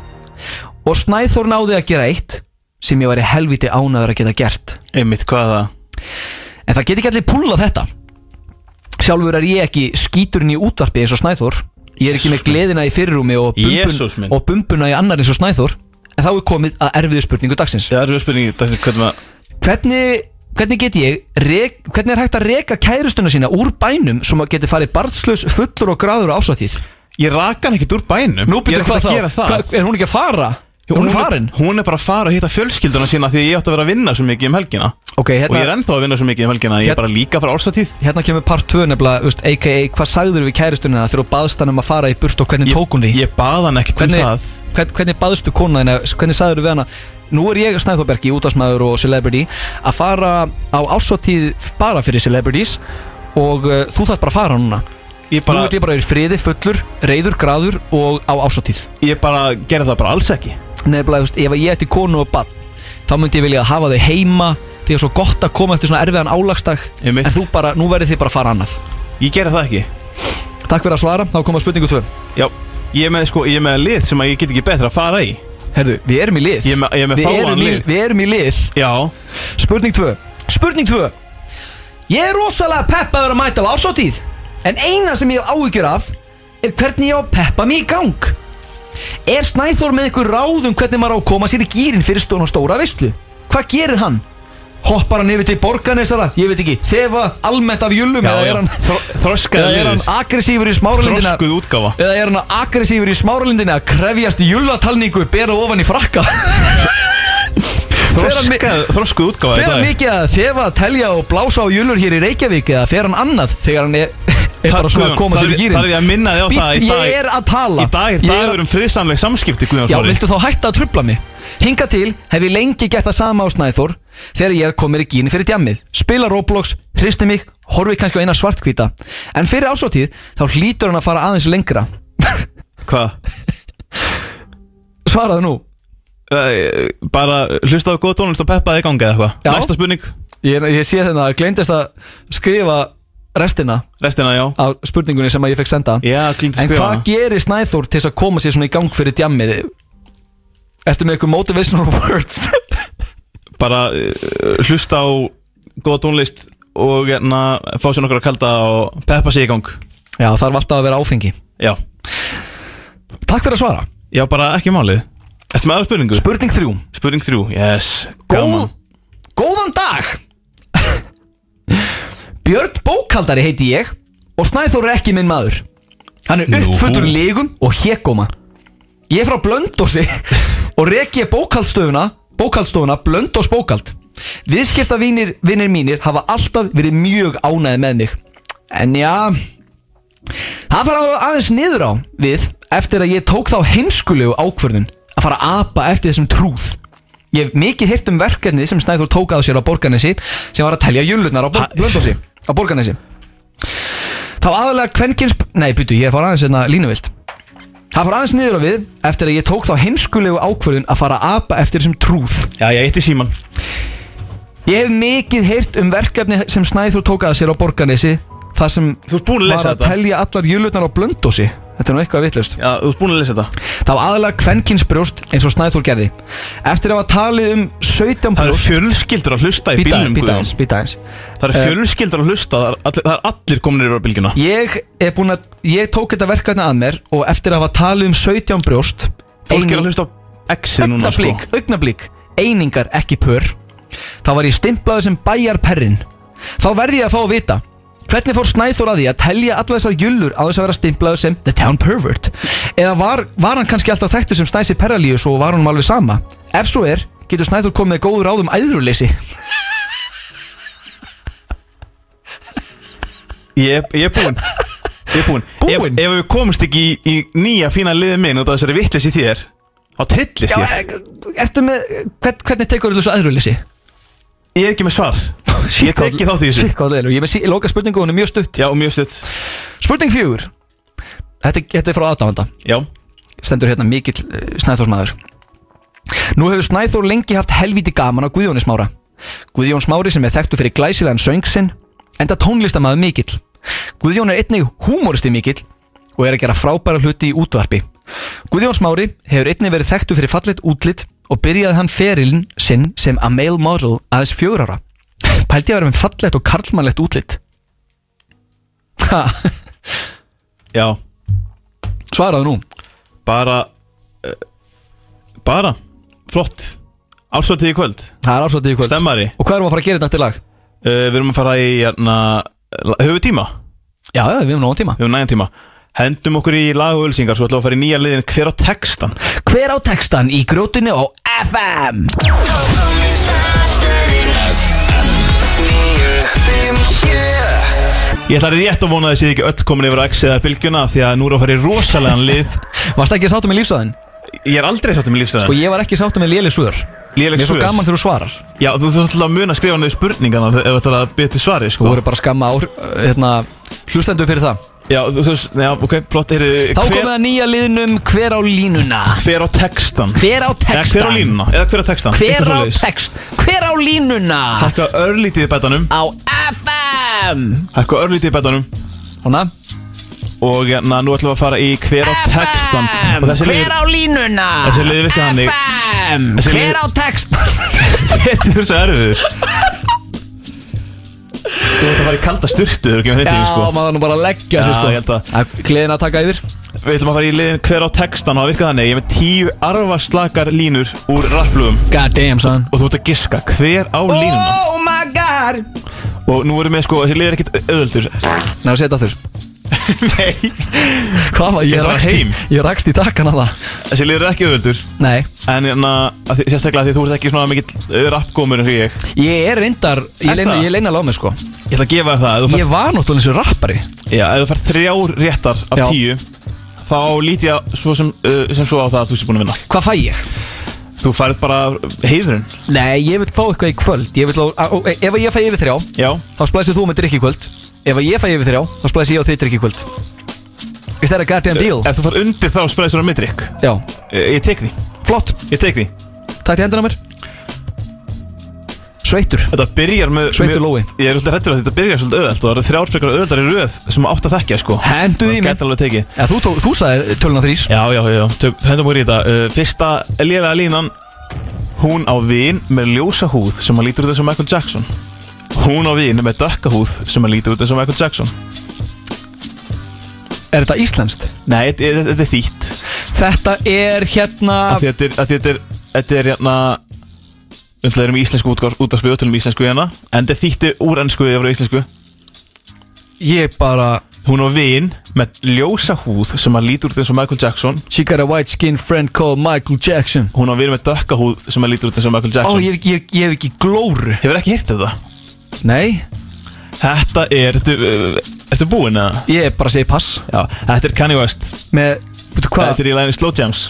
A: Og Snæþór náði að gera eitt sem ég væri helviti ánæður að geta gert
B: Einmitt, hvað það?
A: En það get ekki allir púla þetta Sjálfur er ég ekki skíturinn í útvarpi eins og Snæþór Ég er ekki með gleðina í fyrirrúmi og,
B: Jesús
A: bumbun,
B: minn.
A: og bumbuna í annar eins og Snæþór En þá er komið að erfiðu spurningu dagsins
B: Já, erfiðu spurningu dagsins, hvernig maður
A: Hvernig, hvernig get ég, rek, hvernig er hægt að reka kærustuna sína úr bænum Svo maður geti farið barnslaus fullur og gráður á ásatíð
B: Ég raka hann ekkert úr bænum
A: Nú
B: Ég er
A: byrju
B: ekkert
A: hvað
B: að
A: þá,
B: gera það.
A: Hvað- er hún ekki að fara? Hún, er farin
B: Hún er bara að fara að hitta fjölskylduna sína Því að ég átti að vera að vinna svo mikið um helgina
A: Ok, hérna-
B: Og ég er ennþá að vinna svo mikið um helgina Ég er bara líka frá ársatíð
A: Hérna kemur part 2 nefnilega, veist, a.k.a. hvað sagður við kærustunina þegar þú baðst hann um að fara í burt og hvernig tók hún því?
B: Ég bað hann ekkert um
A: hvernig,
B: það.
A: hvern, Hvernig baðstu kona þína, hvernig sagður við hana? Nú er ég, Snæðóbergi, útastmaður og celebrity að fara á ársatíð bara fyrir celebrities og uh, þú þarf bara að fara núna
B: bara-
A: Nú veit ég bara er friði, fullur, reyður, graður og á ársatíð
B: Ég bara gerði það bara alls ekki
A: Nefnilega, þú veist, ef ég ætti konu og bann þá myndi ég vilja hafa þau heima því því að svo gott að koma eftir svona erfiðan álagsdag
B: Einmitt.
A: En þú bara, nú verðið þið bara að fara annað
B: Ég gera það ekki
A: Takk fyrir að svara, þá koma spurningu 2
B: Já, ég er með, sko, ég er með lið sem að ég get ekki betra að fara í
A: Herðu, við erum í lið
B: Ég er með, ég er með
A: Við
B: fáan
A: erum, í,
B: lið
A: við erum í lið
B: Já
A: Spurning 2 Spurning 2 Ég er rosalega peppaður að mæta á ársóttíð En eina sem ég hef áhyggjur af Er hvernig ég á að peppa mig í gang Er Snæþór með einhver ráðum Hvernig maður á að koma sér í gýrin fyrir stóna stóra veistlu Hvað gerir hann? Hoppar hann yfir til borganesara? Ég veit ekki Þefa almennt af júlum
B: Já,
A: Eða
B: já.
A: er hann,
B: Þro- þroskaður
A: eða er
B: liður.
A: hann aggressífur í smáralindina
B: Þroskuð útgáfa
A: Eða er hann aggressífur í smáralindinni að krefjast júlatalningu bera ofan í frakka? Fer hann mi-
B: Þroskað- Þroskuð útgáfa í
A: Fer hann
B: dag
A: mikið að þefa að telja og blása á júlur hér í Reykjavík eða fer hann annað þegar hann er, er
B: Það-
A: bara svona
B: Guðjón,
A: að koma sér í
B: þarf-
A: gýrin
B: Þarf ég að minna þig á það í
A: Bíddu,
B: dag
A: Ég er að tala
B: Í dag er
A: Ég
B: dagur um friðsamleg samskipti Guðjón
A: Já,
B: Smári.
A: viltu þá hætta að trubla mig? Hinga til hef ég lengi gett það sama á Snæþór þegar ég er komin í gíni fyrir djammið spila Roblox, hristi mig, horfi kannski á eina svartkvíta en fyrir ásóttíð þá hlýtur hann að fara aðeins lengra
B: Hvað?
A: Svaraðu nú
B: Eh, Bara hlusta á góð tónlist og peppa þig í gangi eða
A: Já.
B: eitthvað Næsta spurning
A: Ég, ég sé þennan að gleymdist að skrifa restina
B: Restina, já
A: á spurningunni sem að ég fekk senda
B: Já, gleymdi að
A: En
B: skrifa
A: hvað
B: hana.
A: gerir Snæþór til þess að koma sér svona í gang fyrir djammið? Ertu með eitthvað motivational words?
B: Bara eh, hlusta á góð tónlist og hérna, fá sér nokkur að kalda og peppa sig í gang
A: Já, þarf alltaf að vera áfengi
B: Já,
A: Takk fyrir að svara
B: já bara ekki málið Ertu með aðra spurningu?
A: Spurning þrjú
B: Spurning þrjú, yes
A: Góð, Góðan dag Björn Bókaldari heiti ég og Snæþór er ekki minn maður Hann er
B: Nú.
A: uppfullur lígum og hégóma Ég er frá Blöndósi og reki ég bókaldstöfuna bókaldstofuna Blöndós bókald Viðskiptavinir vinir mínir hafa alltaf verið mjög ánæði með mig En já, Það fara aðeins niður á við eftir að ég tók þá heimskulegu ákvörðun að fara að apa eftir þessum trúð. Ég hef mikið hirt um verkefnið sem Snæður tók að sér á Borganesi sem var að telja júlurnar á Bor- Blönduósi, á Borganesi. Þá aðalega kvenkins... Nei, byttu, ég fara aðeins hérna línuvilt. Það fara aðeins niður á við eftir að ég tók þá heimskulegu ákvörðun að fara að apa eftir þessum trúð.
B: Já, ég eitti síman
A: Ég hef mikið heyrt um verkefni sem Snæður tókaði sér á Borganesi þar sem
B: búin að
A: var
B: lesa
A: að
B: þetta.
A: telja allar júlutnar á blöndósi Þetta er nú eitthvað vitlaust
B: Já, þú ert búin að lesa þetta
A: Það var aðalega kvenkins brjóst eins og Snæður gerði Eftir að hafa talið um 17
B: Það eru
A: brjóst
B: fjölskyldur að hlusta í
A: Býta
B: bílnum
A: býta
B: Guðjón
A: aðeins, Eh, býta aðeins
B: Það eru fjölskyldur að hlusta, það er allir, það er allir kominir yfir á bylgjuna
A: Ég er búin að, ég tók þetta verkefni að mér Og eftir að hafa talið um 17 brjóst
B: Fólk er að
A: eining-
B: hlusta á X-ið núna sko
A: Augnablík, augnablík, einingar ekki pör Þá var ég stimplaður sem bæjarperrin Þá verði ég að fá að vita Hvernig fór Snæþór að því að telja alla þessar jullur á þess að vera stimplaður sem The Town Pervert? Eða var, var hann kannski alltaf þekktur sem Snæsi Perralíus og var hann alveg sama? Ef svo er, getur Snæþór komið með góður áðum æðruleysi
B: Ég, ég er búinn Ég er búinn
A: Búinn?
B: Ef, ef við komumst ekki í, í nýja fína liðið minn út af þessari vittlis í þér Þá trillist
A: eh,
B: ég
A: Ertu með, hvern, hvernig tekur þessu æðruleysi?
B: Ég er ekki með svar Ég tek ekki þátt í þessu
A: Svík hvað leilur, ég er með sí, loka spurningu og hún er mjög stutt
B: Já, og mjög stutt
A: Spurning fjögur Þetta, þetta er frá aðdáðanda
B: Já
A: stendur hérna mikill eh, Snæþórsmaður Nú hefur Snæþór lengi haft helvíti gaman á Guðjóni Smára Guðjón Smári sem er þekktu fyrir glæsilegan söng sinn enda tónlistamaður mikill Guðjón er einnig húmóristi mikill og er að gera frábæra hluti í útvarpi Guðjón Smári hefur einnig verið þekktu fyrir fallet útlit og byrjaði hann ferilinn sinn sem a male model aðeins fjör ára Pældi að vera með fallett og karlmannlegt útlit Ha,
B: Já
A: svaraðu nú
B: Bara eh, Bara Flott Ársvöldið í kvöld
A: Það er ásvöldið í kvöld
B: Stemmari uh,
A: Og hvað erum við að fara að gera þetta til lag?
B: Eh, Við erum að fara í hérna, Höfum við tíma?
A: Já, já, við erum nóg tíma
B: Höfum við næjan tíma Hendum okkur í lag og ölsingar Svo ætlum við að fara í nýja liðin Hver á textan?
A: Hver á textan í grjótinu á FM
B: Ég ætla rétt að vona að þessi ekki öll komin yfir á X eða bylgjuna Því að nú er að fara í rosalegan lið
A: Varst ekki sáttum með lífsæðin?
B: Ég er aldrei sáttum með lífstöðan
A: Sko ég var ekki sáttum með léli suður
B: Léleg
A: Mér er svo
B: svör.
A: gaman þegar þú svarar
B: Já, þú þarf alltaf að muna að skrifa niður spurningana ef þetta er að byrja til svari,
A: Þú
B: sko
A: voru bara að skamma á hérna, hlustendur fyrir það
B: Já, þú veist, já, ok, plott, heyrðu
A: Þá komið að nýja liðnum hver á línuna
B: Hver á textan
A: Hver á
B: Eða
A: textan
B: hver á línuna, eða hver á textan
A: Hver á text Hver á línuna
B: Hækka örlítið í betanum
A: Á FM
B: Hækka örlítið í betanum
A: Hona
B: Og na, nú ætlum við að fara í hver á textan Og þessi
A: Hver
B: liður-
A: á línuna
B: Þessi liður virkar þannig
A: FM
B: Þessi
A: Hver
B: liður-
A: á text
B: Þetta er svo erfið Þú ert að fara í kalda sturtu, þú er ekki með þetta
A: Já,
B: í sko
A: maður nú bara að leggja sig
B: Já,
A: sko
B: ég held að
A: Gleðin að taka yfir
B: Við ætlum að fara í liðin hver á textan og það virka þannig Ég er með tíu arfaslakar línur úr rapplugum
A: God damn son
B: Og þú ert að giska hver á línuna
F: Oh my god
B: Og nú erum við sko, þessi lið er ekkert auðvöldur
A: Nei, setja aftur Nei Hvað var, ég
B: Ég þarf að
A: rakst í,
B: heim.
A: ég rakst í takkan að það
B: Þessi lið er ekki auðvöldur
A: Nei
B: En hérna, að því- sérstaklega því þú ert ekki svona mikill rappgómur eins og ég
A: Ég er reyndar, ég
B: Er
A: leina,
B: það?
A: ég leina lámið sko
B: Ég ætla að gefa þér það ef þú
A: Ég
B: færð-
A: var náttúrulega eins og rappari
B: Já, ef þú fær þrjár réttar af
A: Já.
B: tíu Þá lít ég svo sem, uh, sem svo á það að þú sé búin að vinna
A: Hvað fæ ég?
B: Þú færð bara heiðurinn
A: Nei, ég vil fá eitthvað í kvöld Ég vil, á, á, á- Ef ég fæ yfir þrjá
B: Já.
A: Þá splæsir þú með drikk í kvöld Ef að ég fæ yfir þrjá Þá splæsir ég og þið drikk í kvöld Is that a goddamn deal?
B: Eh, Ef þú fær undir þá spæðis þú á mitrykk
A: Já
B: Eh, Ég ég tek því
A: Flott
B: Ég tek því
A: Takk til hendina á mér Sveitur
B: Þetta byrjar með
A: Sveitur
B: með-
A: Lói.
B: Ég er alltaf hrættur að þetta byrjar svolítið auðvelt og það eru þrjár frekar auðveldar í röð sem átt að þekkja sko
A: Hendu
B: Það
A: því mér
B: gæti alveg tekið
A: ja, Þú, tó- þú sagði töluna þrýr
B: Já, já, já, tök, hendum úr í þetta uh, Fyrsta liðlega línan Hún á vin með ljósa húð sem hann lítur út eins og Michael Jackson Hún á vin með dökka húð sem hann lítur út eins og Michael Jackson
A: Er þetta íslenskt?
B: Nei, þetta er- þetta er þýtt
A: Þetta er hérna
B: Af því að Þetta er, að þetta er, þetta er hérna Þetta er um íslensku útvarspið og tölum íslensku hérna En þetta er þýtti úr ennsku yfir á íslensku
A: Ég bara
B: Hún á vin með ljósa húð sem hann lítur út eins og Michael Jackson
A: She got a white skin friend called Michael Jackson
B: Hún á vin með dökka húð sem hann lítur út eins og Michael
A: Ó,
B: Jackson
A: ég, hef ekki- ég, ég hef ekki glóru
B: Hefur ekki hirt þetta?
A: Nei,
B: Þetta er, ertu, uh, ertu búinn eða?
A: ég bara segi pass
B: Já, þetta er Kanye West
A: Með, veitu hvað
B: Þetta er í læni Slow Jams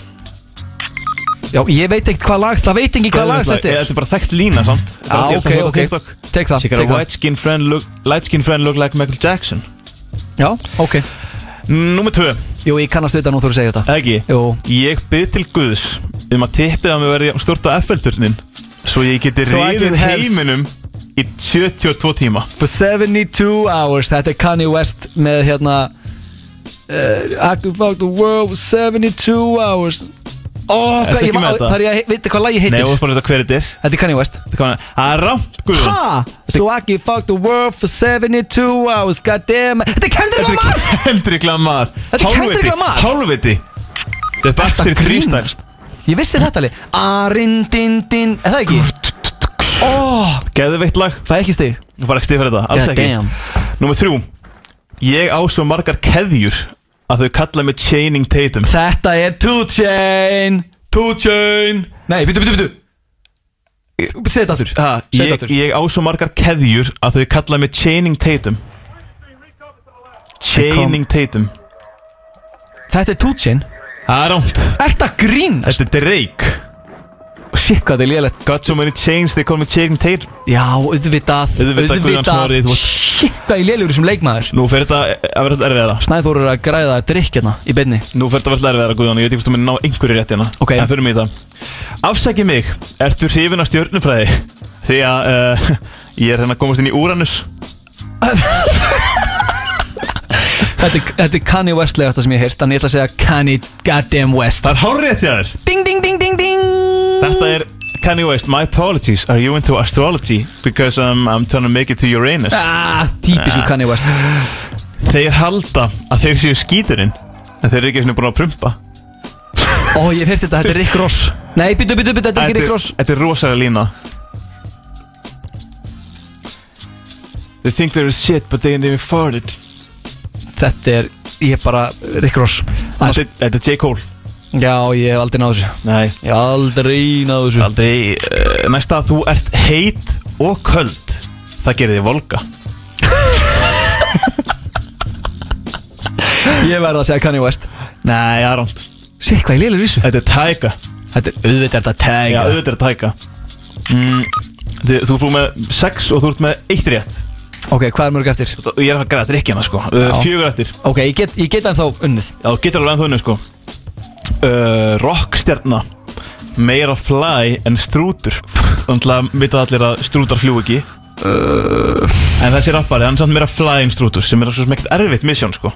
A: Já, ég veit ekkert hvað lag Það veit ekki hvað lag
B: Þetta
A: þetta
B: er-
A: er
B: þetta er hérna bara þekkt lína, sant?
A: Já, ok, ok. Tek það,
B: Sikar
A: tek
B: að
A: það.
B: light skin friend look, light skin friend look like Michael Jackson
A: Já, ok
B: Númer 2,
A: Jú, ég kannast við þetta nú þú eru að segja þetta
B: ekki
A: Jú,
B: Ég byrð til Guðs um að tippið að mér verði jafn stórt á FL-turnin Svo ég geti
A: Svo I
B: reyðið
A: can have-
B: heiminum í 72 tíma
A: for 72 hours Þetta er Kanye West með hérna uh, I could fuck the world for 72 hours Ó,
B: Ertu
A: hvað,
B: ekki
A: ég,
B: með
A: ma-
B: þetta?
A: þar ég að veitir hvað lagi
B: Nei, þú
A: heitir
B: veist bara þetta hver þetta er
A: Þetta er Kanye West
B: Þetta kom- Það er rámt, Guðrún
A: Ha? So I could fuck the world for 72 hours God damn Þetta er Kendrick
B: Þetta
A: Lamar
B: er Kendrick Lamar
A: Þetta er Kendrick
B: Hálfviti,
A: Lamar.
B: Hálfviti Þetta er Backstreet
A: Þetta
B: Freestyle
A: grínast. Ég vissi þetta alveg Arindindin Er það ekki? Ó,
B: Geðveitt lag
A: það er ekki stig
B: Það var ekki stíð fyrir þetta Alls
A: God
B: ekki
A: damn.
B: Númer þrjú Ég á svo margar keðjur Að þau kalla mig Chaining Tatum
A: Þetta er 2Chain 2Chain Nei, byttu, byttu, byttu Segð þetta aftur
B: ha,
A: segðu
B: ég,
A: þetta aftur.
B: ég á svo margar keðjur Að þau kalla mig Chaining Tatum Chaining Tatum
A: Þetta er 2Chain
B: Það er rámt
A: Er það grín?
B: Þetta er Drake
A: Shit, hvað þetta er lélægt
B: Got so many chains They call me Chaining Tatum
A: Já, auðvitað
B: Auðvitað, Guðjón Smári, þú varst-
A: Shit, hvað ég lélægur sem leikmaður
B: Nú fer þetta að vera alltaf erfiðara
A: Snæður er að græða að drikkjana í beinni
B: Nú fer þetta að vera erfiðara Guðjón Ég veit ekki hvort þú munir ná einhverju rétt hérna
A: Ok.
B: En fyrir mig þetta Afsæki mig Ertu hrifin af stjörnufræði? Því að uh, Ég er hérna að komast inn í Uranus
A: Þetta er- þetta er Kanye West legasta sem ég heirt Þannig ég ætla að segja Kanye goddamn West
B: Það er hárrétt hjá þér
A: Ding, ding, ding, ding, ding
B: Þetta er Kanye West My apologies Are you into astrology? Because um, I'm trying to make it to Uranus
A: Ah, típisku Kanye West
B: Þeir halda að þeir séu skíturinn En þeir eru ekki svona búin að prumpa
A: Ó, ég hef heirt þetta, þetta er Rick Ross Nei, byttu, byttu, byttu, þetta er ekki Rick Ross
B: Þetta er rosalega lína They think they're shit but they ain't even farted
A: Þetta er, ég er bara Rick Ross Annars,
B: Þetta er- þetta er J. Cole
A: Já, ég hef aldrei náðu þessu
B: Nei
A: Ég hef aldrei náðu þessu
B: Aldrei uh, Næsta að þú ert heit og köld Það gerir þig volga
A: Ég verð að segja Kanye West
B: Nei, Arond
A: Sér, hvað ég lélur þessu
B: Þetta er tæka
A: Þetta er, auðvitað er þetta
B: Já,
A: tag
B: auðvitað er tæka mm, þið, Þú ert búin með sex og þú ert með eitt rétt
A: Ok, hvað er mörg eftir?
B: Ég er að græða drikkjana sko uh,
A: Já.
B: Fjögur eftir
A: Ok, ég get, ég get ennþá unnið
B: Já, þú getur alveg ennþá unnið sko uh, Rockstjarna Meira fly en strútur Þannig að vita allir að strútar fljú ekki uh, En þessi rappari, hann er samt meira fly en strútur Sem er svo sem ekkert erfitt misjón sko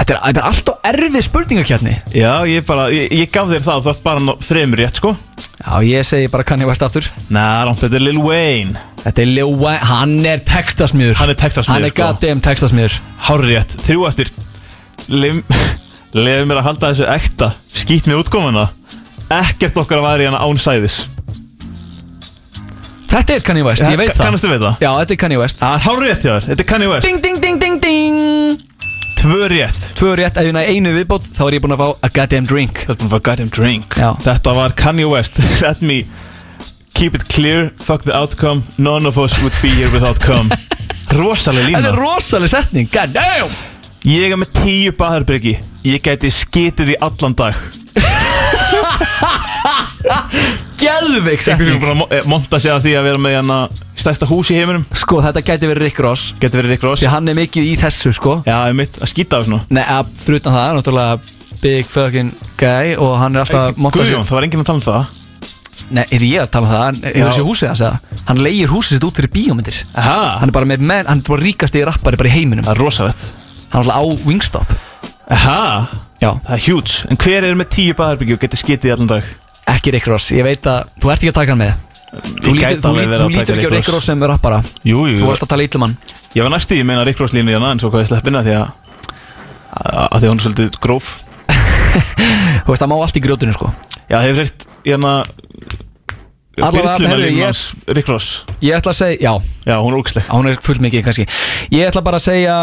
A: Þetta er, þetta er alltaf erfið spurningakjarni
B: Já, ég bara, ég, ég gaf þér það Þú ætti bara ná þremur rétt sko
A: Já, ég segi bara Kanye West aftur
B: Næ, rámt, þetta er Lil Wayne
A: Þetta er Lil Wayne, hann er textasmiður
B: Hann er textasmiður,
A: Hann er
B: sko.
A: goddamn textasmiður
B: Hárrétt, þrjú eftir Lim, Leðu mér að halda þessu ekta Skýt með útkomuna Ekkert okkar að væri hérna án sæðis
A: Þetta er Kanye West, ég veit það
B: Kannastu við það?
A: Já, þetta er Kanye West
B: Það er hárrétt hjá þér, þetta er Kanye West
A: Ding, ding, ding, ding, ding
B: Tvö rétt
A: Tvö rétt, ef ég næ einu viðbót Þá er ég búinn að fá a goddamn drink
B: Þetta er búin að fá goddamn drink
A: Já
B: Þetta var Kanye West Let me keep it clear Fuck the outcome None of us would be here without come Rosalega lína
A: Þetta er rosaleg setning, goddamn
B: Ég er með tíu baðarbyrgi Ég gæti skitið í allan dag Einhverjum
A: Geðvik setning
B: búin að mo- eh, monta sig af því að vera með hérna Stærsta hús í heiminum
A: Sko, þetta gæti verið Rick Ross
B: Gæti verið Rick Ross
A: Því hann er mikið í þessu, sko
B: Já, ég mitt að skýta á svona
A: Nei, að, fyrir utan það, náttúrulega Big fucking guy Og hann er alltaf að monta sig-
B: Guðjón, það var enginn að tala um það
A: Nei, er ég að tala um það? Hann- Hefur þessi húsið hans eða? Hann leigir húsið sitt út fyrir bíómyndir
B: Aha,
A: Hann er bara með menn, hann er bara ríkast í rappari bara í heiminum
B: það er rosalegt
A: Hann er alltaf á Wingstop
B: Aha,
A: Já,
B: það er huge En hver er með tíu baðarbyrgi og gæti skitið í allan dag?
A: ekki Rick Ross, ég veit að þú ert ekki að taka hann með Þú
B: Ég
A: lítur,
B: gæti
A: þú,
B: alveg verið
A: lítur, þú
B: að taka
A: lítur ekki á Rick Ross sem rappara
B: Jú, jú,
A: Þú varst að tala ítlum hann
B: Ég var næstu í meina Rick Ross línu hérna en svo hvað ég sleppina því að að því að hún er svolítið gróf
A: Þú veist, það má allt í grjótinu sko
B: Já, hefur hreitt hérna
A: Allavega,
B: Byrluna
A: heyrðu, ég-
B: línu hans Rick Ross
A: Ég ætla að segja, já,
B: Já, hún er ógisleg
A: hún er fullt mikið kannski Ég ætla bara að segja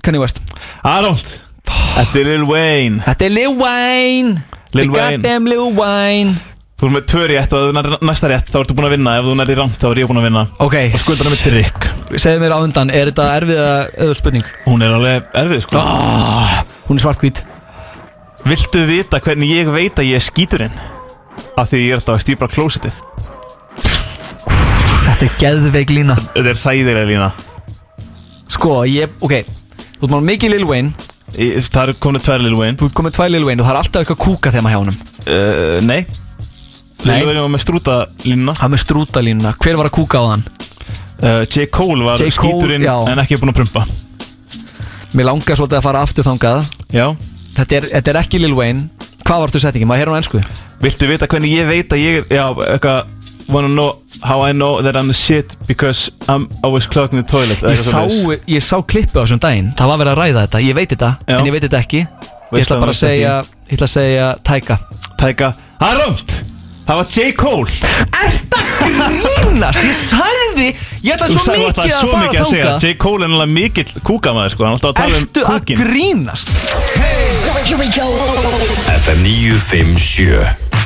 A: Kanye West
B: Arond Þetta er Lil Wayne
A: Þetta er Lil Wayne
B: Lil
A: The
B: Wayne.
A: goddamn Lil Wayne
B: Þú er með tvö rétt og ef þú nærð næsta rétt þá ertu búin að vinna Ef þú nærði rangt þá er ég búin að vinna
A: Ok,
B: Og skuldar með til Rick
A: segðu mér á undan, er þetta erfiða öður spurning?
B: Hún er alveg erfið sko
A: Ah, Hún er svartkvít
B: Viltu vita hvernig ég veit að ég er skíturinn? Af því ég er alltaf að stýpa klósitið
A: Þetta er geðveik lína
B: Þetta er hræðilega lína
A: Sko, ég, ok Þú ert maður mikið Lil Wayne
B: Ég- Það eru konu tvær Lil Wayne
A: Þú ert komið tvær Lil Wayne og það er alltaf eitthvað kúka þegar maður hjá honum
B: Uh, nei
A: Nei.
B: Lil Wayne var með strútalínuna
A: Hann með strútalínuna, hver var að kúka á hann?
B: uh, J. Cole var
A: J. Cole,
B: skíturinn
A: já.
B: en ekki búinn að prumpa
A: Mér langar svolítið að fara aftur þangað
B: Já
A: Þetta er, þetta er ekki Lil Wayne Hvað vartu setningin? Maður heyrði hún ennsku
B: Viltu vita hvernig ég veit að ég er Já, eitthvað Wanna know how I know that I'm the shit Because I'm always clogging the toilet eða
A: ég
B: eitthvað
A: sá,
B: svoleiðis.
A: ég sá klippu á þessum daginn Það var verið að ræða þetta, ég veit þetta
B: Já.
A: En ég veit þetta ekki Ég
B: Veist
A: ætla
B: það,
A: bara að
B: veist það
A: segja, ég ætla að segja Tæka
B: Tæka Það er rámt Það var J. Cole
A: Grínast, ég sagði Ég ætla
B: Þú
A: svo
B: sagði
A: mikið
B: alltaf
A: að
B: svo mikið
A: fara
B: að segja
A: þangað
B: J. Cole er náttúrulega mikill kúkamaður sko Hann er alltaf að tala um
A: Ertu að
B: kúkin
A: grínast?
C: FM 957